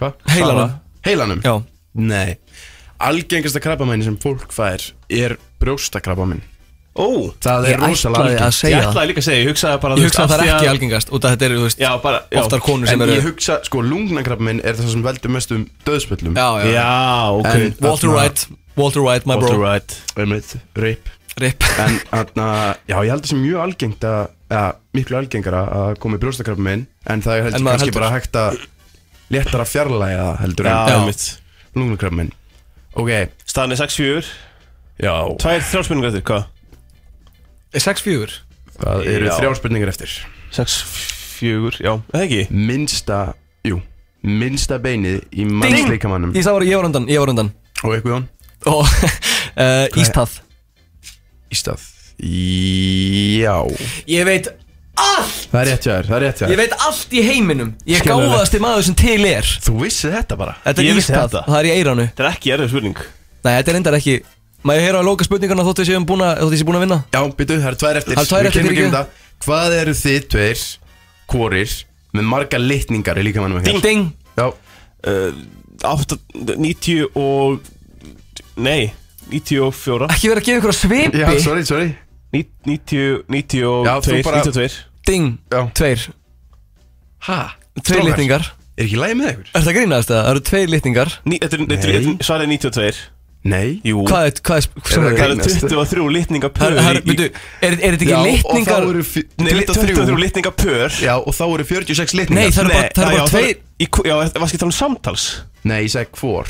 Hva?
Heilanum.
Sara? Heilanum?
Já
Nei Algengasta krabbamæni sem fólk fær er brjóstakrabbamæn
Ó
Það er rosalega
Ég ætlaði að
algengt.
segja
Ég ætlaði líka að segja, ég hugsaði bara
Ég
þú veist,
hugsa að það
af
er
því
ekki algengast Út af þetta eru, þú veist
Já, bara, já.
Oftar konur sem
En
eru
ég hugsa, sko, lungnakrabbamæn er það sem veldur mest um döðspöllum
Já, já. Já, ok. Walter White, Walter White, my bro.
Walter White Einmitt, rip
Rip
En, atna, já, ég held það sem mjög algengt að ja, miklu algengara að koma í brjóstakrabbamæn en það er
En
heldur
maður
kannski
heldur.
bara hægt að léttara fjarlæga það heldur
Já,
en
einmitt.
lungnakrabbamæn Ok
Staðan er 6-4
Já
Tvær þrjárspurningar eftir, hvað?
Eh, 6-4
Það eru þrjár spurningar eftir
6-4, já, eða ekki?
Minnsta, jú Minnsta beinið í mannsleikamanum
Ég sá að ég var undan, ég var undan
Og eitthvað Jón?
Og uh, Ístað
Ístað Já
Ég veit allt
Það er rétt hjá þér, það er rétt hjá
Ég
þér
veit allt í heiminum Ég er
Skiljanlegt.
gáðasti maður sem til er
Þú vissið þetta bara
Þetta
Ég
er
vissi
Ístað
þetta.
og Það er í eiranu
Þetta er ekki erfið spurning
Nei, þetta er endar ekki Maður heyra á loka spurningana þóttu séum búin að Þóttu séum búin að vinna
Já, býtu, það eru tvær eftir
Það eru tvær eftir,
Við kemum ekki um
fyrirgefðu.
það. Hvað eru þið tveir Hvorir Með marga litningar í líkamanum ykkar?
Ding, ding.
Já
uh, 8, 90 og Nei, 94
Ekki vera að gefa ykkur að svipi
Já, sorry, sorry
90, 92,
Já, þú bara-
92
Ding,
Já.
tveir
Ha?
Tveir
Strákar,
litningar
Er ekki lægi með ykkur?
Er það grínast það? Það eru tveir litningar
Ní- þetta er- þetta er- Svarið er 92
Nei
Jú
Hvað er, hvað er, hvað
að
er,
Það
hvað
eru
er
23 litningapör
Það
í-
eru, byrju, er, er þetta
Já,
ekki litningar
og þá eru fi-
Nei, 23 litningapör
Já, og þá eru 46 litningar
Nei, það eru bara, það eru
já,
bara
það
tveir
eru- í hvo- Já, var skilt tala um samtals
Nei, ég segi hvor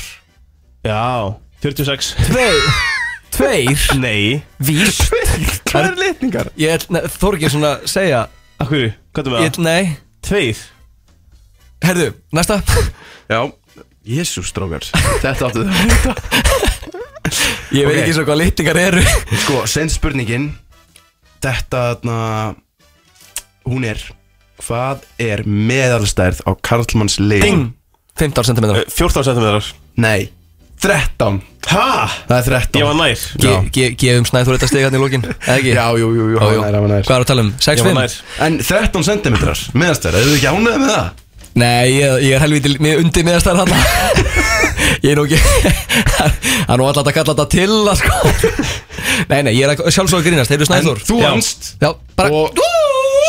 Já, 46
Tveir Tveir
Nei
Víst
Hvað eru litningar?
Ég er, ne- þór ekki svona að segja
Akkur, hvað er með
Ég,
það?
nei
Tveir
Herðu, næsta
Já Jésús, strókar Þetta áttu þau að vita
Ég veit
Ok.
ekki svo hvað litningar eru
Sko, sen spurningin Þetta, þarna Hún er Hvað er meðalstærð á karlmanns
Ding
legum?
15 cm
Eh, 14 cm
Nei 13
Hæ?
Það er 13
Ég var nær
Já.
Gefum snæður þetta stigarni í lokin eða ekki?
Já, jú, jú, jú,
Já,
hann
jú.
var nær, hann var nær
Hvað er að tala um?
Ég
6-5?
var nær
En 13 cm meðalstærð, eru þið ekki ánægð með það?
Nei, ég, ég er helvítið með undir meðastæðar hann Ég er nú ekki Það er nú alltaf að kalla þetta til að sko Nei, nei, ég er að- sjálfsög að grínast Heyrðu
En
Snæður
þú
Já.
vannst
Já, bara
Og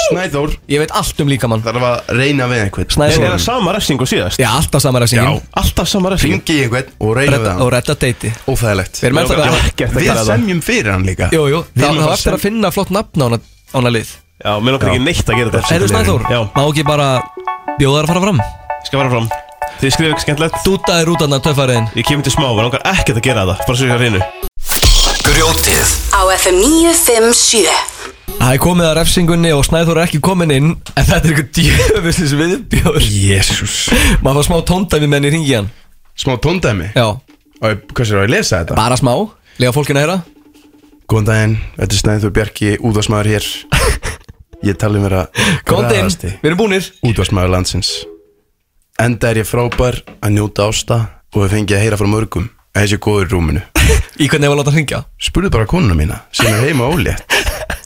Snæþór
Ég veit allt um líkamann
þarf að reyna við einhvern
Snæþór.
Er það sama refsing og síðast?
Já, alltaf sama
Já
ræsingin
Alltaf sama refsing
Ringi í einhvern og reyna við
Redda- Og
hann
redda deiti
Óþægilegt
Við erum ennþá
Ég
að
var ekkert að
Við
gera það.
semjum fyrir hann líka
Jú, jú,
Við
það
erum
það
að
var eftir
sem-
að finna flott nafn á hana, á hana lið
Já, mér langar ekki neitt að gera þetta
Heyrðu Snæður,
Já,
má ekki bara bjóðar að fara fram
ég skal fara fram Þið skrifum ekki skemmtilegt
Dútaðir út hann að töffariðin
Ég kemur til smá, mér langar ekkert að gera þetta Bara hérna svo ég að reynu
Grjótið
Á FM 957
Það er komið að refsingunni og Snæður er ekki komin inn En þetta er ykkur djöfusins viðbjóður
Jésús
Maður fá smá tóndæmi menn í ringi hann
Smá tóndæmi
Já,
Og Hvað sér á ég að lesa þetta?
bara smá Lega fólkinu að heyra
Góðan daginn, þetta er Snæður Bjarki, útvarsmaður hér Ég tali um vera
Góðan inn,
glaðasti
við erum búnir
Útvarsmaður landsins Enda er ég frábær að njóta ásta Og við fengið að heyra frá mörgum að þessi góður í rúminu
Í hvernig hefur látað hringja
Spurðu bara konuna mína sem er heima ólétt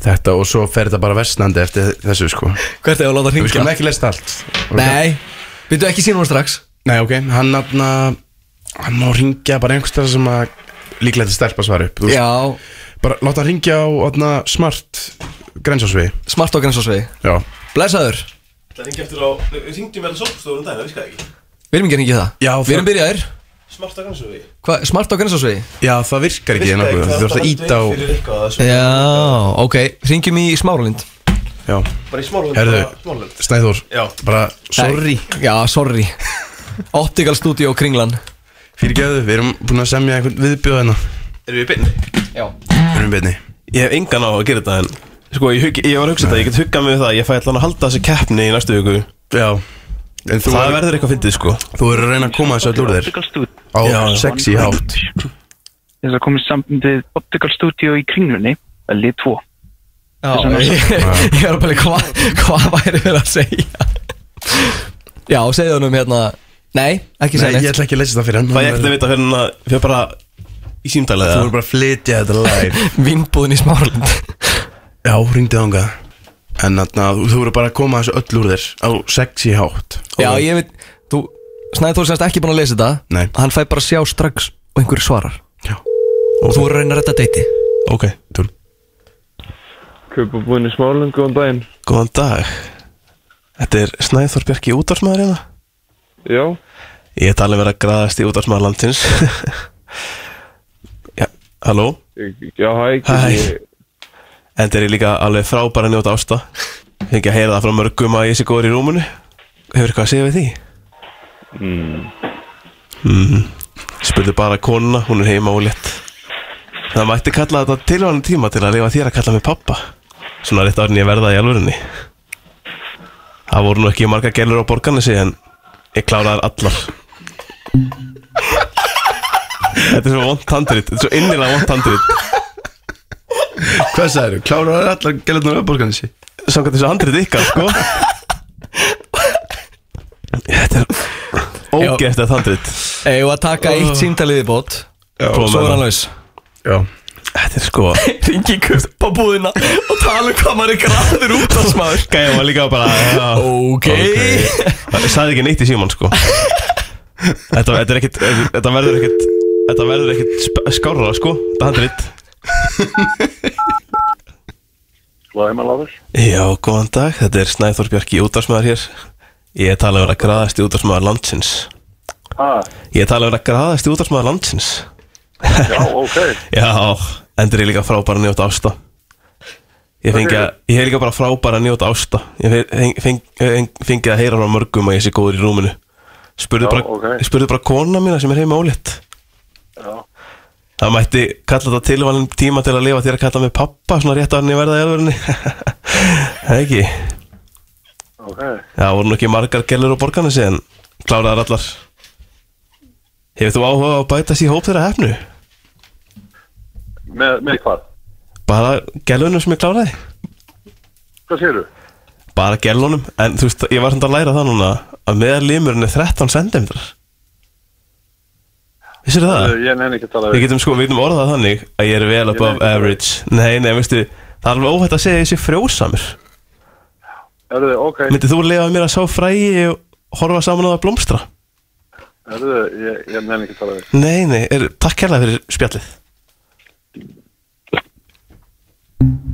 Þetta og svo fer þetta bara versnandi eftir þessu sko
Hvert hefur látað
Við
hringja
skulum ekki lesta allt
Nei, byrju ekki síðan hún strax
Nei, ok, hann nafna Hann má ringja bara einhvers þar sem að Líklega þetta stelpa svar upp þú veist.
Já,
Bara láta hann ringja á atna, smart grensásvegi
Smart á grensásvegi
Já
Blessaður,
Það er ekki eftir á, ringdi mér að sókustofur um daginn, það viskaði ekki
við erum ekki að hringja í það
Já,
Við erum byrjaðir
Smarta grannsöfi
Hva, Smart á grensásvegi
Já, það virkar ekki hérna Þú þurft að íta á
Já, ok, ringjum í Smáralind
Já
Bara í Smáralind,
Herðu,
bara Smáralind.
Snæður
Já.
Bara, sorry
Nei, Já, sorry Optical Studio Kringlan
Fyrir geðu, við erum búin að semja einhvern viðbjóð hérna
Erum við í beinni?
Já
Við erum í beinni
Ég hef engan á að gera þetta en Sko, ég, hug, ég var að hugsa þetta, ég get huggað mig við það Ég fæ allan að halda þessi keppni í næstu viku
Já þú
Það
er-
verður eitthvað fyndið, sko
Þú er að reyna að koma þessu öll úr þér Á sexy hátt
Þess að komið saman við Optical Studio í kringlunni Lið 2
Já, ég, ég er bara hvað hva væri verið að segja Já, segðu hann um hérna Nei, ekki segja
Nei, ég ætla ekki að leysa það fyrir hann
Fæ ég ekkert að vita hérna, fyrir bara í símtalið
Þú er bara að flytja þetta live
Vinnbúðin í Smáralind
Já, ringdi þánga En þarna, þú- þú eru bara að koma þessu öll úr þér Á sexy hátt
Já, ég veit, þú Snæður Þór semst ekki búin að lesa þetta
Nei.
Hann fæ bara að sjá strax og einhverju svarar Já Og þú er að reyna að redda deiti
Ok, þú
Kaupa búin í smálinn, góðan daginn
Góðan dag Þetta er Snæður Bjarki útvarsmaður hérna
Já,
Ég er talið vera að graðast í útvarsmaður landsins Já, halló
ég- já, hæ,
Hæ.
ég-
En þetta er líka alveg frábæra njóta ásta Fengi að heyra það frá mörgum að ég sé góður í rúmunu Hefur eitthvað að segja við því?
mm,
mm. Spurðu bara konuna, hún er heima ólétt Það mætti kalla þetta tilvæðan tíma til að lifa þér að kalla mig pappa Svona rétt árin ég verða í alvörunni Það voru nú ekki marga gælur á borgarnesi en ég kláraði þær allar Þetta er svo vond handrit, þetta er svo innilega vond handrit
Hvað sagðið þú? Kláraði þær allar gælurnar á borgarnesi?
Samkvæmt þessu handrit ykkar, sko Þetta er ógeðst þetta handrit
Eða að taka eitt símtalið í bót Svo er hann laus
Já
Þetta er sko
Ringi í kaupa búðina og tala um hvað maður er græður út af smaður
Gæja var líka bara já,
Ok.
Ég sagði ekki neitt í síman sko Þetta, þetta, er ekkit, þetta verður ekkit Þetta verður ekkit sp- skárra sko Þetta handrit
Slæma láður
Já, góðan dag, þetta er Snæþór Bjarki útarsmaður hér Ég er talað að vera graðast í útarsmaður landsins
ah,
Ég er talað að vera graðast í útarsmaður landsins
Já, ok
Já, endur ég líka frábæra njóta ásta Ég fengi að, ég er líka bara frábæra njóta ásta Ég fe- feng- feng- feng- fengi að heyra frá mörgum að ég sé góður í rúminu Spurðu
Já,
bara,
ok.
spurðu bara kona mína sem er heima ólétt
Já,
Það mætti kalla þetta tilvalin tíma til að lifa þér að kalla mig pappa svona rétt að hann ég verða í alvörinni Það er ekki
ok
Það voru nú ekki margar gælur á borgarna síðan Kláraðar allar Hefur þú áhuga á að bætast í hóp þeirra hefnu?
Með, með hvað?
Bara gælunum sem ég kláraði?
Hvað séru?
Bara gælunum En þú veist, ég var samt að læra það núna Að meðal limurinn er 13 cm Vissir það?
Ég nefn ekki að tala
Við getum sko, við getum orðað þannig Að ég er vel above average Nei, nei, veistu Það er alveg óhætt að segja þessi frjósamur
Erðu, ok
Myndið þú lefa mér að sá frægi og horfa saman á það blómstra?
Erðu, ég, ég nefn ekki að tala við
Nei, nei, er, takk hérlega fyrir spjallið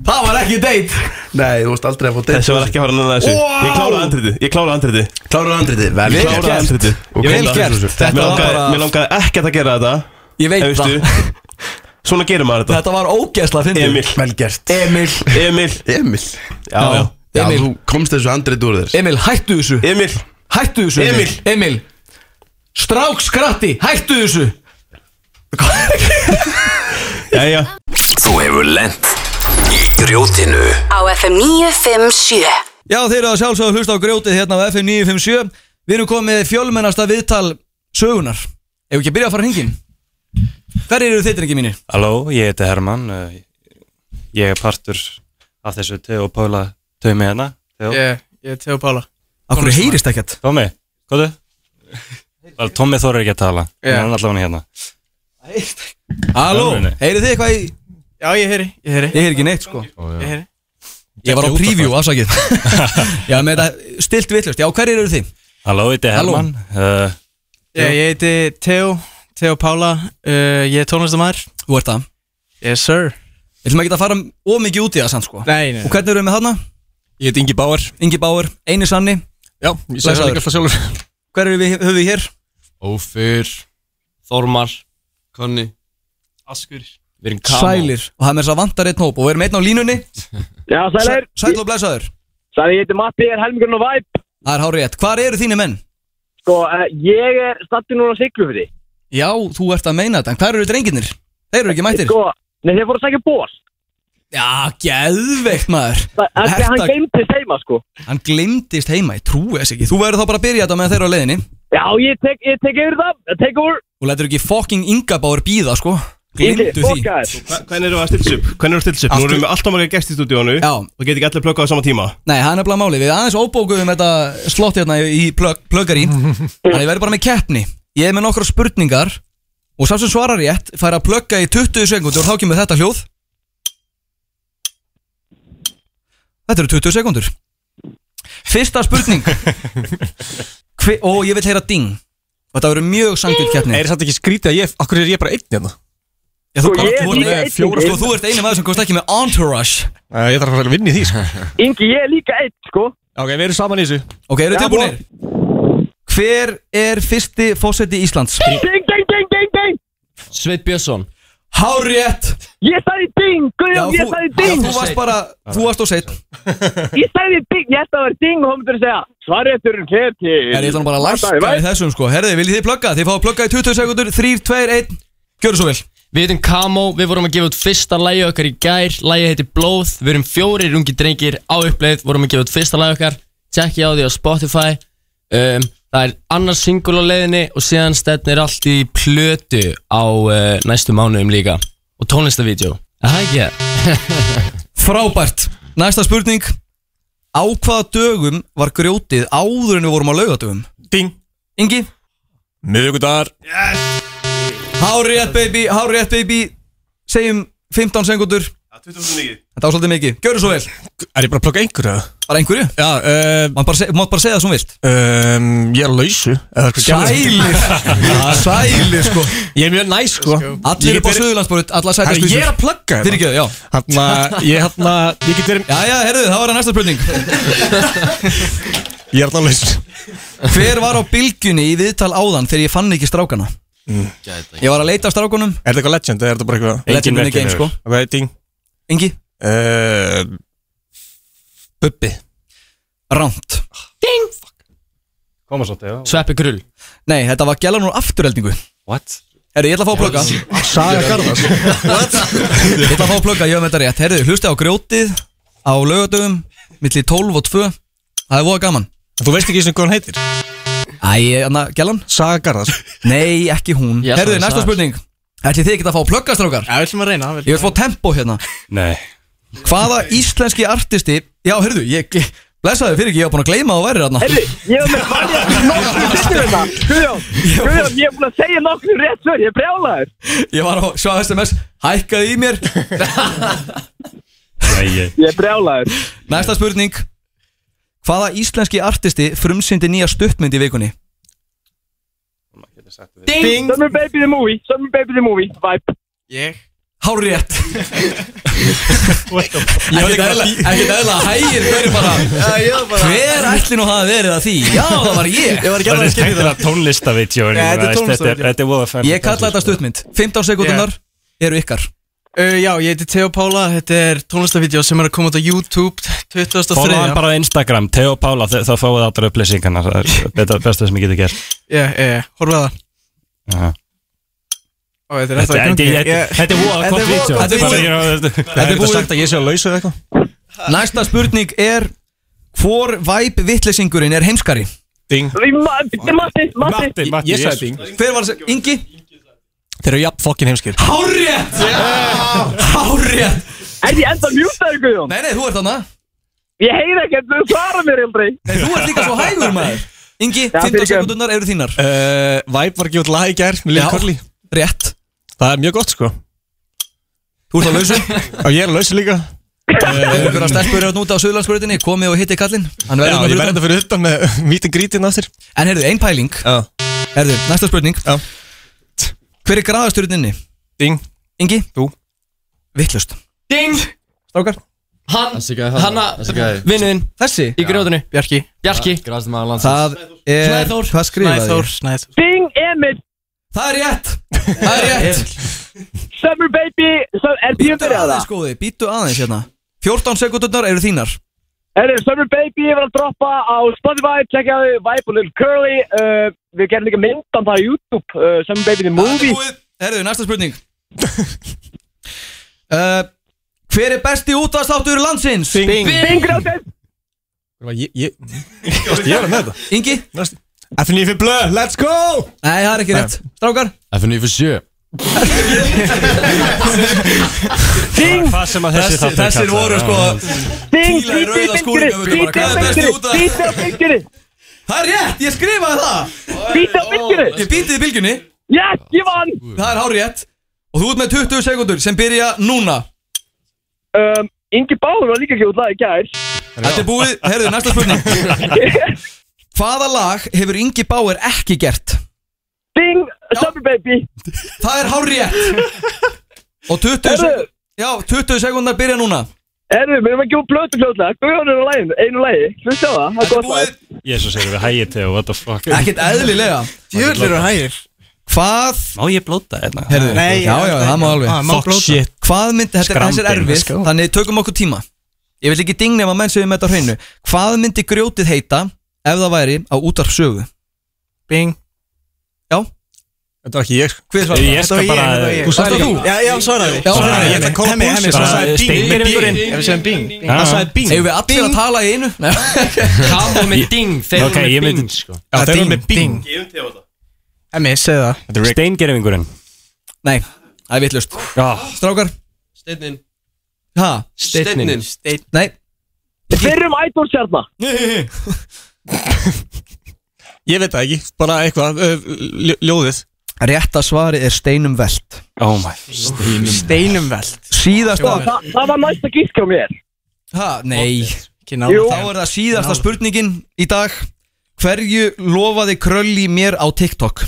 Það var ekki deit
Nei, þú varst aldrei að fá date
Þessi var ekki að fara nefna þessu Ég kláraði andritið, ég kláraði andritið
Kláraði andritið, vel
Ég
gert.
kláraði andritið
Og
Ég veit
komdu
það.
aftur þessu.
Þetta Mér langaði, mér langaði ekkert að gera þetta
Ég veit
En veistu, Svona gerir maður þetta
Þetta var ógeðsla að finna
Emil
Vel gert
Emil
Emil
Emil
Já, já
Já,
Emil.
þú komst þessu andrið úr þér
Emil, hættu þessu
Emil
Hættu þessu
Emil.
Emil Strákskratti, hættu þessu
Jæja
Þú hefur lent í grjótinu
Á FM 957
Já, þeir eru að sjálfsögðu hlusta á grjótið hérna á FM 957 Við erum komið með fjölmennasta viðtal sögunar Ef við ekki að byrja að fara hringin Hver eru þið drengi mínir?
Halló, ég heiti Herman eh, Ég er partur af þessu Teo Pála taumi hérna Teo.
Ég, ég er Teo Pála
Akkur heyrist ekkert
Tómi, góðu Vel, Tómi þorir ekki að tala
Já.
yeah. Hann er allavega hérna
Halló,
Nei, nei, nei.
heyrið þið eitthvað í
Já, ég heyri, ég heyri
Ég heyri ekki neitt sko
Ég heyri
Ég var á preview, afsakið Já, með þetta stilt vittlust Já, hverjir eru þið?
Halló, ég heiti
Halló.
Herman uh,
Ég, ég heiti Teo, Teo Pála uh, Ég er tónlistamæður
Þú ert það
Yes sir
Við ætlum ekki að fara ómikið út í það samt sko
Nei, nei.
Og hvernig erum við með þarna?
Ég heit Ingi Báar
Ingi Báar, eini sanni
Já, ég segi það líka alltaf sjálfur
Hver er við, höfum við hér?
Ófyr Þormar Konni
Askur
Við erum kamo
Sælir Og hann er svo vantar einn hóp Og við erum einn á línunni
Já, sælir
Sæ- Sæll og blessaður
Sælir, ég heiti Matti, ég er helmingurinn og væp
Það er hár rétt Hvar eru þínir menn?
Sko, eh, ég er stattur núna á Siglufyrði
Já, þú ert að meina þetta En hvar eru drengirnir? Þeir eru ekki mættir
Sko, nei, þeir fóru að sækja ból
Já, geðveikt maður
Það er því að hann
Þetta-
geimtist heima, sko
Hann glemdist heima, ég trúi þess ekki Þú verður þá bara að byrja þetta meðan þeir eru á leiðinni
Já, ég tek, ég tek yfir það, ég tek yfir
Og lætur ekki fokking yngabáður býða, sko Glemdu því
Hvernig erum við að stilsa upp? Hvernig erum við að stilsa upp? Nú erum við með alltaf marga gæst í stúdíónu
Já
Og geti ekki allir plökkað á sama tíma
Nei, það er nefnilega máli Við aðeins óbókuðum þetta slott hérna í plöggari Þannig ég verður bara með keppni Ég er með nokkra spurningar Og sá sem svarar rétt fær að plugga í 20 sekundur Og þá kemur þetta hljóð Þetta eru 20 sekundur Fyrsta spurning Hve, Og ég vil heyra ding Og þetta verður mjög sangil keppni
Er þetta ekki skrítið að ég Akkur er ég bara einn hérna
Já, þú,
Sko,
bara,
ég-
þú,
ég-
ert,
ég-
fjóra,
ég-
sko, þú ert einu maður sem komst ekki með entourage
uh, Ég þarf að fara að vinna í því sko.
Ingi, ég er líka einn, sko
Ok, við erum saman í þessu
Ok, eru
Já,
tilbúinir? Hver er fyrsti fósetti Íslands?
Ding, ding, ding, ding, ding
Sveit Björnsson
Hárétt
Ég sagði ding, Guðjón, ég sagði
já,
ding
þú varst bara, þú varst og seitt
Ég sagði ding, ég ætti að vera ding og hún myndir að segja Svarrétturinn fer til
Það er þannig bara að læska í þessum sko Herði, viljið þið plugga? Þið fá að plugga í 20 sekundur 3, 2, 1, gjörðu svo vel
Við heitum Kamo, við vorum að gefa út fyrsta lægi okkar í gær Lægi heitir Blóð, við erum fjórir ungi drengir á uppleið Vorum að gefa út fyrsta lægi okkar Tjekki á því á Spotify um, Það er annars single á leiðinni Og síðan stefnir allt í plötu á uh, næstu mánuðum líka Og tónlistavídeó Það er ekki það
Frábært Næsta spurning Á hvaða dögum var grjótið áður en við vorum á laugadögum?
Ding
Ingi
Miðvíkudagar
Hárétt baby, hárétt baby Segjum 15 sekundur Þetta var svolítið mikið, gjörðu svo vel
Er ég bara að plugga einhverju?
Bara einhverju?
Já uh,
Mátt bara, seg, bara segja það sem þú vilt
um, Ég er lausu eða hvað gerðist.
Sælir Sælir sko
Ég er mjög næ sko
Allir upp á Suðurlandsbúrið, alla sætast
Herri, ég er að plugga þetta.
Fyrirgeðu, já
Hanna, ég, hérna- hanna, ég get verið
Já, já, herðu, það var að næsta spurning
Ég er hann laus
Hver var á bylgjunni í viðtal áðan þegar ég fann ekki strákana? Ég var að leita af strákunum
Mm. Er þetta eitthvað legend eða er þetta bara eitthvað
Legend in the game, sko.
Ok, ding
Ingi
uh, Bubbi
Ránt
Koma svolítið, já
Sveppi Grull
Nei, þetta var gælan úr afturreldingu
What?
Herru, ég ætla að fá að plugga
Saga Garðars
Ég ætla að fá að plugga, ég hef með þetta rétt Herru, hlusti á grjótið á lögadöfum milli 12 og 2 Það er voða gaman
Þú veist ekki sem hvað hann heitir?
Æ, anna, gælan?
Saga Garðars
Nei, ekki hún
Ég ætla
Herru,
að
næsta
sagði.
spurning Ætli þið geta að fá að plugga strákar?
Já, við ætlum að reyna við
Ég vil fá tempo hérna
Nei
Hvaða íslenski artisti Já, herru, ég Blessaðu fyrir ekki, ég var búin að gleyma að þú væri hérna
Herri, ég hef með svarrétt nokkru sinni þetta hérna. Guðjón, Guðjón, ég hef búin að segja nokkru rétt svör, ég er brjálaður
Ég var á sjá SMS, hækkaði í mér
Ég er brjálaður
Næsta spurning Hvaða íslenski artisti frumsyndi nýja stuttmynd í vikunni?
Ding, Summer Baby the Movie, Summer Baby the Movie, vibe
Ég
Hári rétt Ekkert eðla, ekkert eðla, hægir verið bara Hver ætli nú hafa verið að því? Já, það var ég
Þetta er skemmtilega tónlistavídeó en
Nei,
ég
þetta er
veist,
tónlistavídeó.
Þetta er voða fenn
Ég kalla þetta stuttmynd 15 sekundunar eru ykkar
Uh, já, ég heiti Teo Pála, þetta er tónlistavídeó sem er að koma út á YouTube 2003
Fóla hann bara á Instagram, Teo Pála, þe- þá fáið það allra upplýsingarna Það er beta- besta sem ég geti gert
Já, já, já, horfa það
Aha.
Ó, þetta er
Þetta
eftir
er- þetta er- þetta er voða gott vídeó
Þetta er voða gott
Þetta
er búið.
að ég sé að lausa eða eitthvað
Næsta spurning er Hvor væp vittlesingurinn er heimskari?
Ding
Matti, Matti
Matti, Ég sagði ding
Hver var þessi? Ingi?
Þeir eru jafn fokkin heimskir
Hárrétt! Hárrétt!
Er ég enda mjútaður, Guðjón?
Nei, nei, þú ert þarna
Ég heyr ekkert, þú svarar mér aldrei
Nei, þú ert líka svo hægur maður Ingi, 15 sekundunar eru þínar
uh, Væp var ekki út lag í gær með Lil
Já.
Corley
Rétt
Það er mjög gott sko
Þú ert á lausu
Og ég er að lausa líka
Einhverja stelpur eru núta á Suðlandsgröðinni Komið og hitti kallinn Hann
Já,
verður
ég verði
utan.
þetta fyrir utan með Meet and greetin aftur
En heyrðu, ein pæling
Já.
Heyrðu, næsta spurning
Já.
Hver er graðasturinn inni?
Ding
Ingi?
Þú
Vittlust
Ding
Strákar
Hann
Þessi gæði
Hanna
Þessi gæði
Vinnuðinn
Þessi
Í grjóðinu
Bjarki
Bjarki
Græðast maður
Það
landsins
er
Snæþór.
Hvað skrifaði
Snæþór,
ég?
Snæþór
Ding Emil
Það er rétt Það er rétt
Summer baby sum- Er tíum
Býtu
fyrir það
aðeins góði Býtu aðeins hérna 14 sekundurnar eru þínar
Herru, Summer Baby var að droppa á Spotify, tjekkaðu Vibe og Lil Curly uh, Við gerum líka myndan það á YouTube, uh, Summer Baby the Movie
Herðu, næsta spurning uh, Hver er besti útastáttur landsins? Bing
Bing Grjótið
Hvað, Ég, ég, Veistu, ég var með þetta
Ingi
FNF blöð, let's go
Nei, það er ekki rétt Strákar
FN yfir sjö
Ding
Hvað sem að þessi
Þessir- þessir voru sko
Ding,
Fíla í rauða skúrinum og
bíti á
bara, hvað er besti
bylgjunni,
út af-
bíti á bylgjunni
Það er rétt, ég skrifaði það
Bíti á bylgjunni
Ég býtið í bylgjunni
Yes, ég vann
Það er hár rétt Og þú ert með 20 sekundur sem byrja núna
um, Ingi Báður var líka ekki út lagi gær
Þetta er búið, herðu, næsta spurning Hvaða lag hefur Ingi Bauer ekki gert?
Ding, Summer Baby
Það er hár rétt Og 20
Herðu.
sekundar Já, 20 sekundar byrja núna
Herru, við erum að gefa plötu fljóðlega Guðjón er á læginu, einu lægi Hlusta á það, það er gott lag
Jésus, erum við hægir til og what the fuck
Ekkert eðlilega
Djöfull eru
hægir Hvað
Má ég blóta hérna?
Herðu, já, já, það má alveg
Fuck shit
Hvað myndi, þetta er- þessi er
Skrambing,
erfið
sko.
Þannig tökum okkur tíma Ég vil ekki dingna ef að menn sem við með þetta á hreinu Hvað myndi grjótið heita Ef það væri á útarp sögu Bing Já
Þetta var ekki ég sko.
Hver svarar
Ég skal bara
Þú svarar þú
Já, já, svaraði
Já, svaraði.
Ég ætla að koma
Hemmi, Hemmi,
búlsir Bing
svaraði Bing.
Ah.
Ef við segjum bing
Hann sagði bing
Þegar við allir að tala í einu Nei.
Kambo með ding Þeir
Ok,
okay,
ég
eru með
myndi
ding sko
Já, þeir eru með bing
Gefum þér á það
Emmi, segð það
Þetta er steingerfingurinn
Nei, það er vitlust
Já
Strákar
Steinnin
Ha?
Steinnin Steinn
Nei
Fyrrum ædol sérna
Ég veit það ekki Bara eitthvað ö, ljó- Ljóðið
Rétta svari er steinum veld
Oh my Steinum
Steinum veld
Síðasta
það, það var næsta gísk á mér
Ha? Nei
Jú.
Þá er það síðasta spurningin í dag Hverju lofaði krölli mér á TikTok?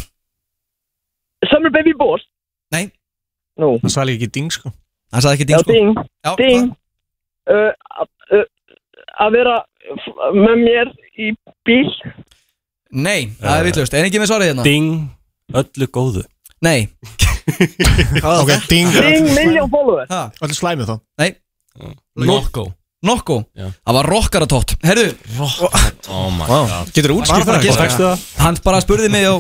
Summer Baby Boss
Nei
Nú
Það sagði ekki ding sko
Hann sagði ekki
Já,
ding sko
ding,
Já,
ding Uh, uh, uh, Að vera f- með mér í bíl
Nei,
Eh.
það er vitlust Er ekki með svarið hérna?
Ding Öllu góðu
Nei
Ok, ding
Ding, miljón follower
Ha?
Allir slæmið þá
Nei
Mm. Nokko
Nokko
Já.
Það var rokkaratótt Herðu
Oh my
Vá.
god
Getur þú útskipt það? Hvað fækstu það?
Hann bara spurði mig á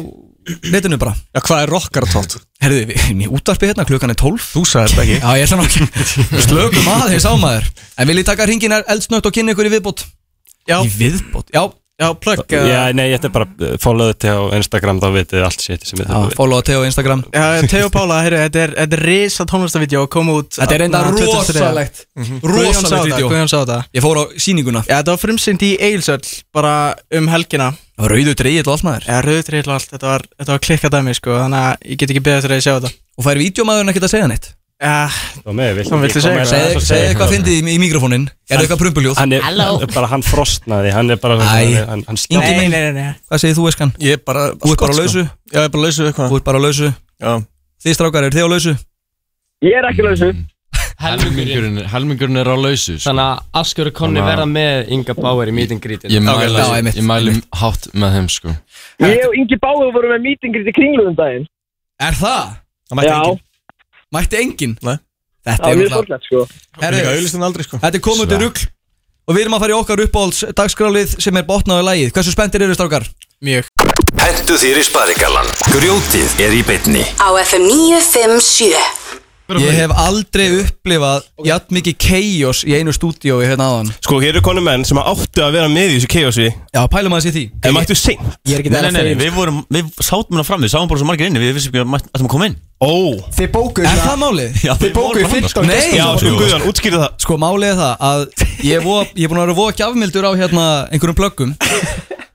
netinu bara
Já, hvað er rockaratótt?
Herðu, við erum í útvarpi hérna, klukkan er 12
Þú sagði þetta ekki
Já, ég ætla nú ekki Slökum aðeins á maður En vil ég taka hringin eldsnögt og kynna ykkur í viðbót?
Já,
Í viðbót? Já,
já, plugg uh,
Já, nei, þetta er bara uh, follow þetta á Instagram þá vitið þið allt shit sem við
eh,
já
þurfum
followa Teo á Instagram
Já, Teo Pála, heyrðu, þetta er, þetta er risa tónlistavídeó að koma út
Þetta er enda
þarna 23.
rosalegt Mhm.
Guðjón sá
Rosalegt
þetta,
vídeo
Guðjón sá þetta
Ég fór á sýninguna
Já, þetta var frumsynd í Eilsöll, bara um helgina
Rauðu dreigil og allt maður
Já, rauðtrýll og allt, þetta var, þetta var klikkað dæmi, sko Þannig að ég get ekki beðið þegar ég sjá þetta
Og fær vídeomaðurinn ekkert að segja neitt
Já,
Þá með,
Hvað viltu segja?
Segðu segðu eitthvað fyndið í- í mikrofónin Er eitthvað prumpuljóð?
Hann er,
Halló.
hann er bara, hann frostnaði, hann er bara,
Æ.
hann, hann
Ingi
skjáði
minn,
nei, nei, nei
hvað segir þú Eskan?
Ég er bara
Þú ert bara á
sko.
lausu
Já, ég er bara á lausu eitthvað
Þú ert bara á lausu
Já
Þið strákar, er þið á lausu?
Ég er ekki lausu
Helmingurinn
Helmingurinn Helmingurinn er á lausu sko.
Mm. Þannig að Askur og Konni
Þannig að-
verða með Inga Bauer í meeting greetin
Ég
já,
mæli,
einmitt,
ég mæli hátt með þeim sko
Ég og Ingi Báður vorum með mýtingri til kringluðum daginn
Er það?
Það mætti
Já.
enginn.
Mætti enginn?
Nei.
Þetta
Það
er
var mjög
náttúrulega
fórlægt sko
Það er ekki
Herðu,
að auðlistin aldrei sko
Þetta er komið til
Sva.
rugg Og við erum að fara í okkar uppáhalds dagskrálið sem er botnaðu lagið Hversu spenntir eru strákar?
Mjög
Hentu þér í sparigallan Grjótið er í beinni
Á FM 957
Ég hef aldrei upplifað okay. jafn mikið chaos í einu stúdíói hérna áðan
Sko, hér eru konu menn sem áttu að vera með í þessu chaosi
Já, pælum að þessi því
En mættu seint
Ég er ekki
Nei, nei, nei, við vorum, við sátum hana fram, við sáum bara svo margir inni, við vissum ekki að mætt- ættum að koma inn
Ó
Þið bókuð
Er það málið?
Já, þið bókuðu bókuð 15
Nei,
Já, sko, Guðan, sko, útskýrðu það
sko málið er það að Ég er voða- ég er búin að vera voða gjafmildur á hérna einhverjum plöggum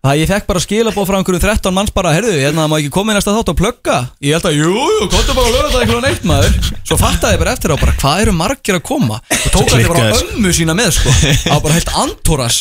Það ég fekk bara skilabóð frá einhverjum 13 manns bara Herðu, hérna má ekki koma í næsta þátt og plugga Ég held að, jú, jú, komdu bara að lögða það einhverjum eitt maður Svo fattaði ég bara eftir á bara, hvað eru margir að koma Og tók allir bara á
Klikkaðir.
ömmu sína með, sko Það var bara heilt antóras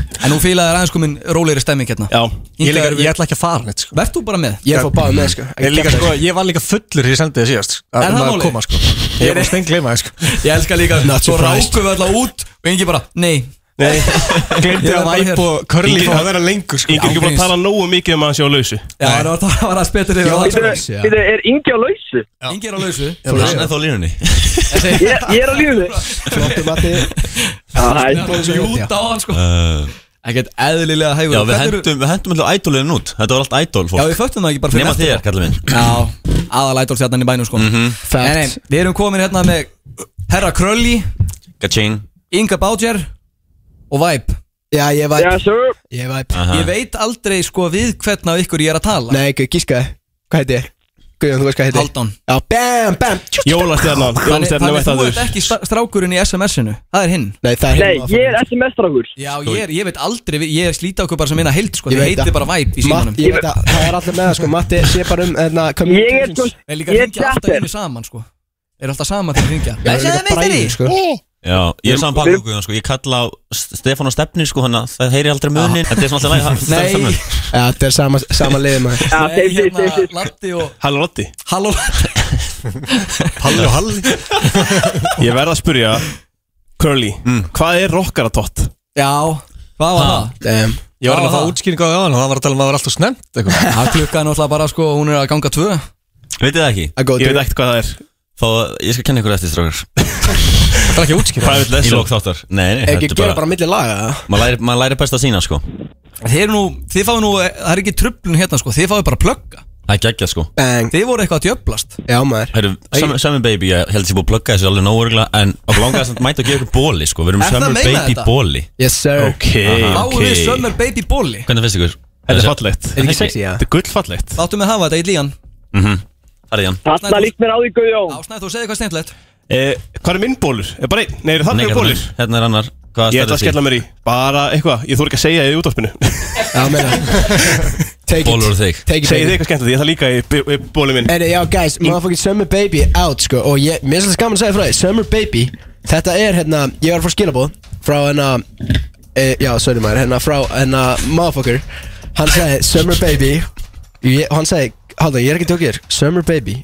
En nú fílaði aðeins sko minn rólegri stemming hérna Já,
Ég, líka, ég ætla ekki að fara neitt sko.
Vert þú bara með?
Ég
fór bara með, sko.
Ég, líka, sko, ég var líka fullur í sendið síðast
Er það
um að
málið?
koma, sko. Ég var stein gleyma sko.
Ég elska líka,
Not
svo
surprised.
rákum við alltaf út Og engi bara, nei
Nei,
Ég
glemdi að
var væri hér.
væpa og curly
Ingi-
fór að vera lengur sko.
Ingi er ekki búin að tala
nógu mikið um að hann sé á lausu
Já, það var- það var að spytur
Já,
yfir
bíddu,
það
bíddu,
Er Ingi á lausu? Ingi er á lausu
Hann er þá línunni
Ég,
ég er á lífni
Flottu Matti Júta á hann sko Ekkert eðlilega hægur
Uh, Já, við
Þetta eru-
hendum, við hendum alltaf ædolinu út Þetta var allt ædol fólk
Já, við föttum það ekki bara fyrir
Nema
eftir
þér, Mhm.
það.
kallum minn
Já, aðal ædolstjarnan í bænum sko Nei, nei, við erum komin hérna með Herra Krölli,
Gaching
Inga Báger og Væp Já, ég
væp. Yes, sir.
Ég væp
Ah.
Aha.
Ég veit aldrei sko við hvern af ykkur ég er að tala
Nei, ekki, gíska Hvað heiti ég? Guðjón, þú veist hvað heiti ég?
Haldón
Já, bam, bam
Jólastjarnan, Þannig þú ert ekki stra- strákurinn í SMS-inu Það er hinn
Nei, það er hinn
er SMS strákur Já, ég, er, ég veit aldrei, við- ég er slíta okkur bara sem eina heild sko
Ég
Þið
veit
heiti
það.
bara væp í símanum
Matti, ég veit að það er allir með það sko Matti sé bara um hérna communications.
Þeir líka hringja alltaf einu saman sko Er alltaf saman til að hringja
Já, það er líka bræður, sko.
Já, ég er
Við-
saman
við-
pakkuguðan sko Ég kalla á S- Stefán og Stefni sko Þannig að það heyri aldrei munin Þetta er svona alltaf læg
Nei Já, þetta er sama, sama lið maður
Nei, hérna, Latti og
Halló Lotti
Halló
Palli og Halli
Ég verð að spyrja Curly,
Mm.
hvað er rokkaratott?
Já, hvað var það?
Damn.
Ég var
Hvað
hann að
var
fá
það?
útskýringu á það og það var að tala um að það var alltaf snemt eitthvað.
Það klukkaði náttúrulega bara sko, hún er að ganga tvö
Veit þið það ekki?
Að góð Ég veit
ekkert hvað það er Þá, ég skal kenna ykkur eftir strákar
Það er ekki útskýringu
Private lesson Í lók þáttar Nei, nei,
Ekki gera bara milli laga
Maður læri, maður læri best að sína sko
Þeir nú, þið fáið nú, það er ekki trublun hérna sko Þið fáið bara að plugga
Það er geggjað sko
Bang
Þið voru eitthvað að djöblast
Já maður
Herru, Summer Summer Baby, ég held að ég búið að plugga þessu alveg nógurgla En okkur langaði samt mæta að gefa ykkur bóli sko
Um
Við erum
Er það
Summer
meina
Baby
þetta?
bóli
Yes sir
Ok,
Fáum
ok
við Summer Baby Bolli
Hvernig finnst ykkur?
Þetta er fallegt
Er ekki sexy,
ja?
Þetta er gullfallegt
Láttu mig hafa þetta í líðan
Mhm, farið í hann
Þarna líkt mér á því Guðjón
Ásnæð, þú segir hvað skemmtilegt
eh, Hvað er minn bólur? Er bara einn? Nei, er það
Nei,
mjög
hérna
bólur?
er- Hérna er annar Hvað
Ég ætla að skella mér í Bara eitthvað, ég þú ekki að segja í útvarpinu
Já, meina Take it
Bólur þig
Take it,
Segði
baby.
þig eitthvað skemmtilegt, ég ætla líka í, í, í bóli minn
En já, guys, motherfucking Summer Baby out, sko Og ég, mér finnst þetta gaman að segja frá því Summer Baby, þetta er, hérna, ég var að fá skilabóð Frá hérna, e, já, sorry maður, hérna, frá, hérna, motherfucker Hann sagði, Summer Baby ég, og Hann sagði, halda, ég er ekki tjókir Summer Baby,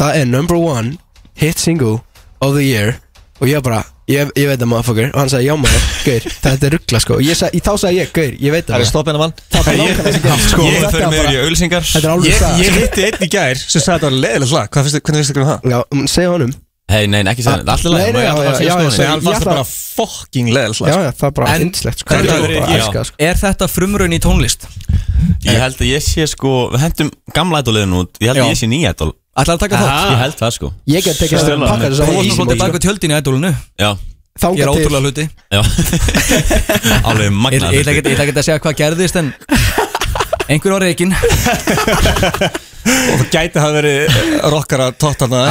það er number one hit single of the year Og ég var bara, ég, ég veit það motherfucker Og hann sagði, já maður, gaur, þetta er ruggla, sko Og ég sagði, þá sagði ég, gaur, ég veit
Það er
það maður."
hérna,
stoppin af hann
Það er nákvæmlega sem gerðist.
Sko,
Þetta var bara-
auglýsingar
Þetta er alveg
Ég,
staðan,
ég
sko.
hitti einn í gær sem sagði að þetta var leðilegt lag Hvað finnst þið- Hvernig finnst ykkur um það?
Já, um, segja honum
Hei, nei, ekki segja Það er allir
Nei, nei, já, já, já,
Nei, hann
ég
fannst
ætla-
það bara fucking leðilegt lag
Já, já, það er bara
um En-
hinslegt sko.
Þetta
Þetta
er-
er bara
já.
æska sko.
Er þetta frumraun í tónlist?
Eh.
Ég held að ég sé sko Við hendum gamla ædoliðin út Ég held
Já.
að ég sé nýja ædol
Ætlaðu að taka þátt?
Ég held það sko
Ég get tekið að pakka þess að
Þú varst svolítið bak við tjöldin í ædólinu
Já
Ég er
Þanga til
ótrúlega hluti
Já Alveg
Ég
magnað
ég ætla ekkert- ég ætla ekkert að segja hvað gerðist en Einhver var reygin
Og það gæti hafa verið rockara tóttarna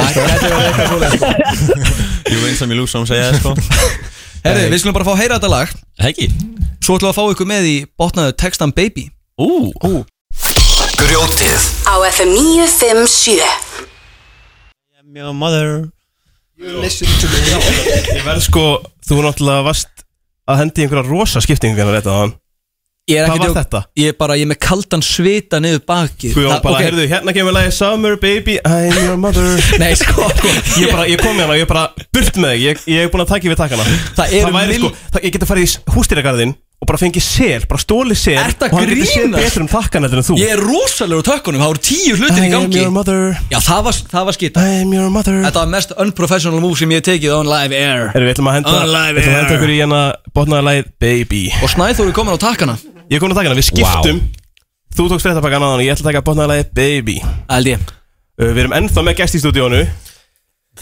Jú, eins og mér lúsa um að segja það sko
Herri, við skulum bara fá að heyra þetta lag
Heggi
Svo ætlum við að fá ykkur með í botnaðu textan Baby
Ú,
ú
Grjótið
Á FM 957
I'm your mother
Ég verð sko, þú náttúrulega varst að hendi einhverja rosa skiptingu hérna rétt á hann
Ég er
Hvað
ekkert
var
jók-
þetta?
Ég er bara, ég er með kaldan svita niður bakið
Guðjón
Það-
bara,
ok.
heyrðu, hérna kemur lagi Summer baby, I'm your mother
Nei, sko, sko
Ég bara, ég kom hérna og ég bara burt með þig Ég, ég er búin að taka yfir takkana
Það eru
væri
mil-
sko, það, Ég geti farið í hústýragarðin og bara fengið sel, bara stólið sel
Ertu að
Og hann geti séð
grínast?
betur um takkan heldur en þú
Ég er rosalegur á tökkunum, það voru tíu hlutir
I
í
am
gangi
your mother.
Já, það var, það var skita
I am your mother
Þetta var mest unprofessional move sem ég hef tekið on live air
Erum við ætlum að henda,
On live
ætlum að henda okkur
air
í hérna botnaða lagið Baby
Og Snæþór er komin á takkana
Ég er komin að taka hana, við skiptum Þú tókst fréttapakkan aðan og ég ætla að taka botnaða lagið Baby
Ældi ég
uh, Við erum ennþá með gest í stúdíónu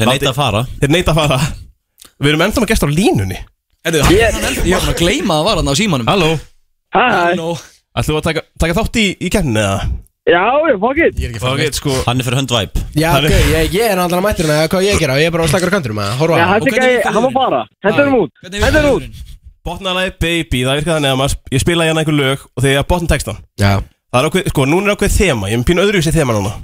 Þeir neita að fara
Þeir neita að fara Við erum ennþá með gest á línunni
Erðu, hann er ennþá- ég var búinn að gleyma að var hann á símanum
Halló
Hæ
Ætlum við að taka, taka þátt í, í kemni eða?
Já, já, fuck it
Ég er ekki
Ok, sko
Hann er fyrir hönd væp
Já,
Það er-
ok, ég, ég er náttúrulega mættur hérna, hvað ég gera, ég er bara á slakar kantur maður, horfa
Já,
á hann.
þetta er ekki, hann var bara Hendur hann út, hendur hann út
Botnalagi Baby, það virkar þannig að maður, ég spila hérna einhver lög og þegar ég botna textan
Já
Það er ákveð, sko, núna er ákveð þema, ég er með pínu öðru þessi þema núna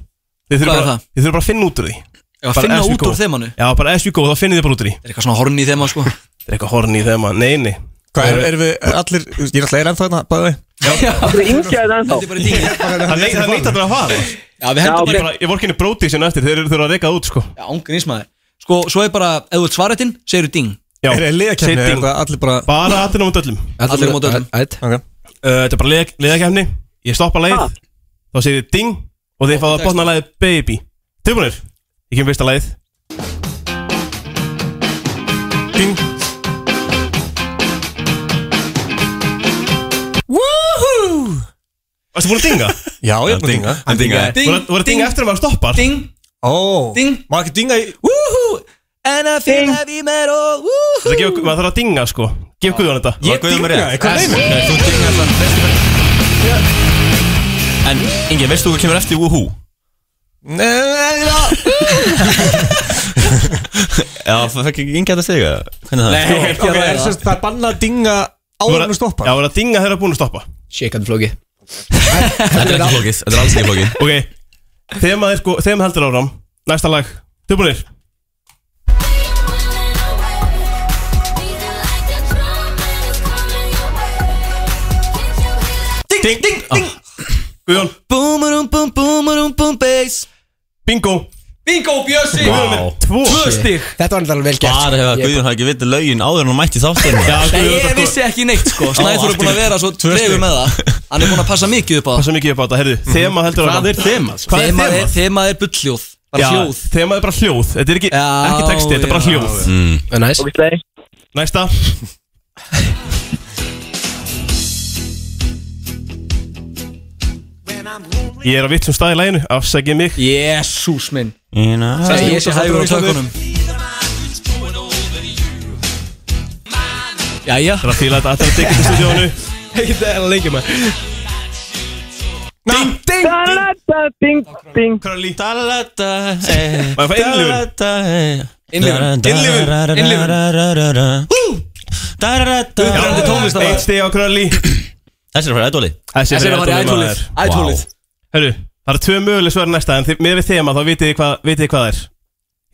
Þið þurfum
Hvað er
bara,
það?
þið þurfum bara að finna út úr því
Já,
Bara
finna
as we
út
go.
úr þemanu?
Já, bara as you go, þá finnið þið bara út úr því Það
er eitthvað svona horn í þema, sko
Það er eitthvað horn í þema, nei, nei
Hvað, er, erum við allir, þú veist, ég er alltaf er ennþá hérna, bæði
Það er yngjaðið
ennþá.
Það neyta þetta að fara Já,
við hendum bara-
bara Ég vor kynni brótið sinna eftir, þeir eru þurfa að reyka út, sko
Já, ángrís maður Sko, svo er bara, ef þú ert svaretinn, segir þú ding
Já,
Er það liðakeppni,
setting.
er það allir bara-
Bara allir á mót öllum
Allir á móti öllum.
Ætt Eh, Þetta er bara liða- liðakefni Ég stoppa leið Þá segir þið ding Og þið fáðu að botna lagið Baby Tilbúinir Ég kemur fyrsta lagið Ding
Woohoo
Varstu búin að dinga?
Já, ég er búin að
Dinga.
dinga
Hann dingaði. Voru- voru að dinga eftir að maður stoppar?
Ding
Ó
Ding
Má ekki dinga í
Woohoo And I feel heavy metal Woohoo
Það gefur, maður þarf að dinga sko Gef Guðjón þetta
Ég Var Guðjón með dingaði, rétt? hvað meinar?
Nei, þú dingar þann
En Ingi, veistu hvað kemur eftir Woohoo? Já, það fekk ekki Ingi að þetta segja Hvernig það?
Nei, Sko, ok, það er sérst, það er bannað að dinga áður en þú stoppar
Já, voru að dinga þeirra búin að stoppa
Shake and flóki
Þetta er ekki flókið, þetta er alls ekki flókið
Ok, þegar maður, sko, þegar maður heldur áram Næsta lag, tilbúinir
Ding,
ding, ding, ding Guðjón
Boomerum, boom, boomerum, boom, bass
Bingo
Bingo, Bjössi
Guðjón er með
Tvö
stig
Þetta var alveg vel gert
Bara hefur að Guðjón hafi ekki vitið lögin áður en hann mætti þáttir
Já,
Nei, ég vissi ekki neitt, sko Snæður er búin að vera svo trefur með það Hann er búin að passa mikið upp á það
Passa mikið upp á þetta, heyrðu Þema heldur áram
Mhm. Hvað er þemað, sko?
Hvað er
Þemað er-
þemað?
Þemað er bulljóð
Já,
Bara hljóð
Þemað er bara hljóð Þetta er ekki, ekki texti, þetta er bara
já.
hljóð
Mm.
Næs
Næsta Ég er á vitsum stað í læginu, afsækið mig
Jésús minn
Sagði
Ég sé hægur á tökunum Jæja
Það er að fíla þetta alltaf að digga í stúdíónu
Það er að leikja maður
Ding,
ding,
ding Ding, ding
Curly
Dalata
Maður fær innlifun.
Innlifun
Innlifun. Innlifun.
Innlifun
Já,
tónlistarmaður.
Eitt stig á Kralli
Þessi er að fara í ædólið
Þessi
Þessi er að fara í ætólið Ætólið
Hörru, það eru tvö möguleg svar næsta En þið- með við þema þá vitið þið hvað, vitið þið hvað það er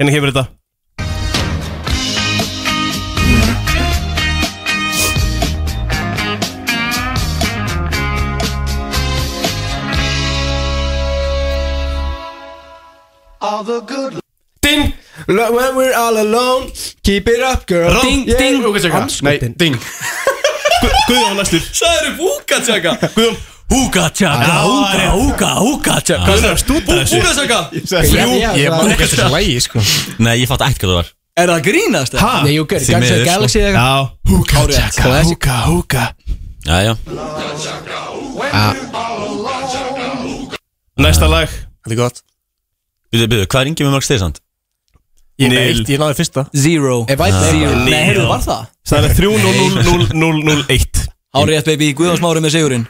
Hérna kemur þetta
Ding Lo- When we're all alone Keep it up girl
Ding,
Yeah,
ding.
ok, sjöka. Andskotinn.
ding Gu- Guðjón næstur
Það eru búkatsjaka
Guðjón
Húkatsjaka
húka,
húka, húkatsjaka
Hvað er það að stúta þessu?
Búkatsjaka
Þrjú
Ég man ekki eftir þessu
lægi sko Nei, ég fatt ekkert hvað það var
Er það að grínast? eða?
Nei, jú, gör
Því
Guns N'
miður, sko.
Galaxy eða eitthvað
Já
Húkatsjaka Húka, húka
Jæja
Næsta lag
Þetta er gott
Býðu, býðu, hvað er yngi með mörg stiðsand?
Ég er með
Nil.
eitt, ég náði fyrsta
Zero
Ef vænt
Zero
Nei,
Nei, heyrðu, var það?
Það er 3-0-0-0-0-1
Hárið rétt baby, Guðjóns Mári með sigurinn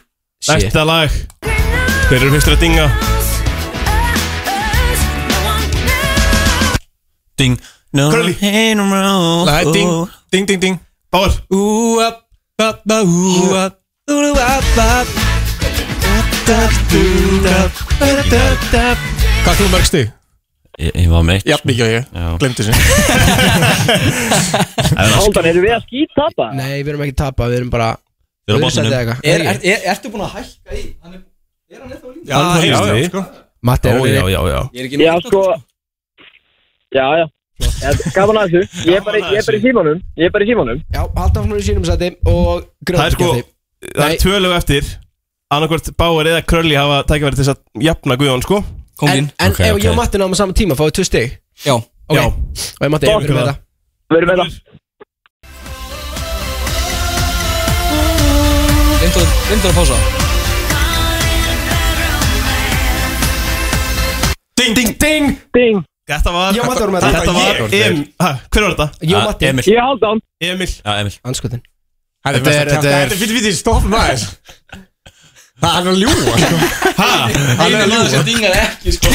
Næsta lag Þeir eru fyrstur að dinga
Ding no,
Curly.
hey, no, no,
Nei, ding, ding, ding, ding
Bár
Úap, bap, bap, úap Úap, bap
Hvað er þú mörg stig?
Ég, ég var meitt
Jafn mikið og ég,
Já.
glemdi þessu
Haldan, eru við að skýta það?
Nei, við erum ekki að tapa Við erum bara
Við erum á
öðruvísi
botninum.
eða eitthvað.
Er- er- er- Ertu búin að hækka í? Hann er- Er hann eftir á línu?
Já, já,
Alveg heyrðu
já,
þið.
sko
Matti er
Ó,
orðið-
já, já, já
Ég er ekki
Já, sko Já, já Ég- Gaman að þessu Ég er bara ég er bara í símanum Ég er bara í símanum
Já, halda hann í sínum sæti Og
Það er
grjóðkjæði
sko Það er tvö lög eftir Annarkvort Bár eða Kralli hafa tækifæri til þess að jafna Guðjón sko
En,
Kongin
en
Ok,
ef
ok.
ég og Matti náum á sama tíma Fáum við tvö stig
Já
Ok.
Já.
Og ég Matti, við erum með
Okkur
þetta
Við erum með það
Reyndur reyndur að pása
Ding, ding, ding
Ding
Þetta var
Ég og Matti vorum með
Þetta
þetta
var Em- ha, Hver var þetta?
Ég og
Ah,
Matti
Emil
Ég er Haldan
Emil
Já, Emil
Anskotin
Þetta er, þetta er Þetta er fyrir því, stopp maður Það er að ljúa, sko
Einu maður sem dingar ekki, sko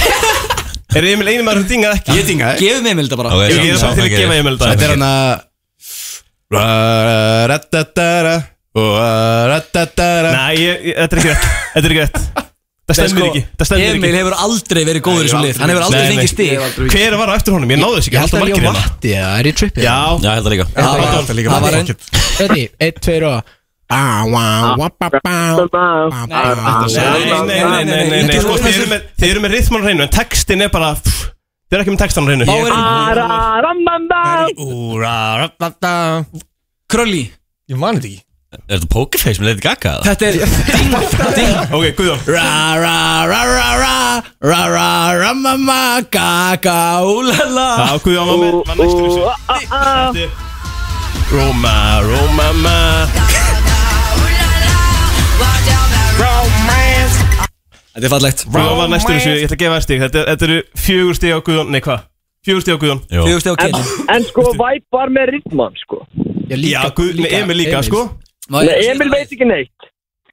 Er Emil einu maður sem dingað ekki?
Ég dinga
Gefum Emil þetta bara
Ok,
Ég er
sá-
bara
sá-
til að
sá-
gefa Emil þetta
Þetta
Þetta er hann að
Ra-ra-ra-ra-ra Ra-ra-ra-ra-ra
Nei, ég, ég, þetta er ekki rétt Þetta er ekki rétt
Nei,
Það stendur
sko,
ekki Það stendur ekki
Emil hefur aldrei verið góður í þessum lið Hann hefur aldrei fengið stig
Hver var á eftir honum? Ég náði þess ekki
Ég held
halda
að
markið
ég
Vatti, það
hérna.
er í trippið Já,
Já, held að líka
það var Það var einn Þetta er einn, tveir og Ah, wow,
Nei, nei, nei, nei, nei, nei, sko, Þið eru með- þið eru með rithman á hreinu En textin er bara pff, Þið eru ekki með textan á hreinu
Þá er- Krölli
Ég man þetta ekki
Er þetta Pokerface með Lady Gaga? eða?
Þetta er
Ok, Guðjón Já, Guðjón var með var næstur þessu Þetta er- Roma, Roma, ma
Þetta er fallegt
Guðjón var næstur þessu Ég ætla að gefa þér stig Þetta er- þetta eru fjögur stig á Guðjón Nei, hvað? Fjögur stig á Guðjón
Fjögur stig á
En-
En sko, Væp var með Ritman, sko
Já, Guð, með Emil líka, sko
Nei, Emil veit ekki neitt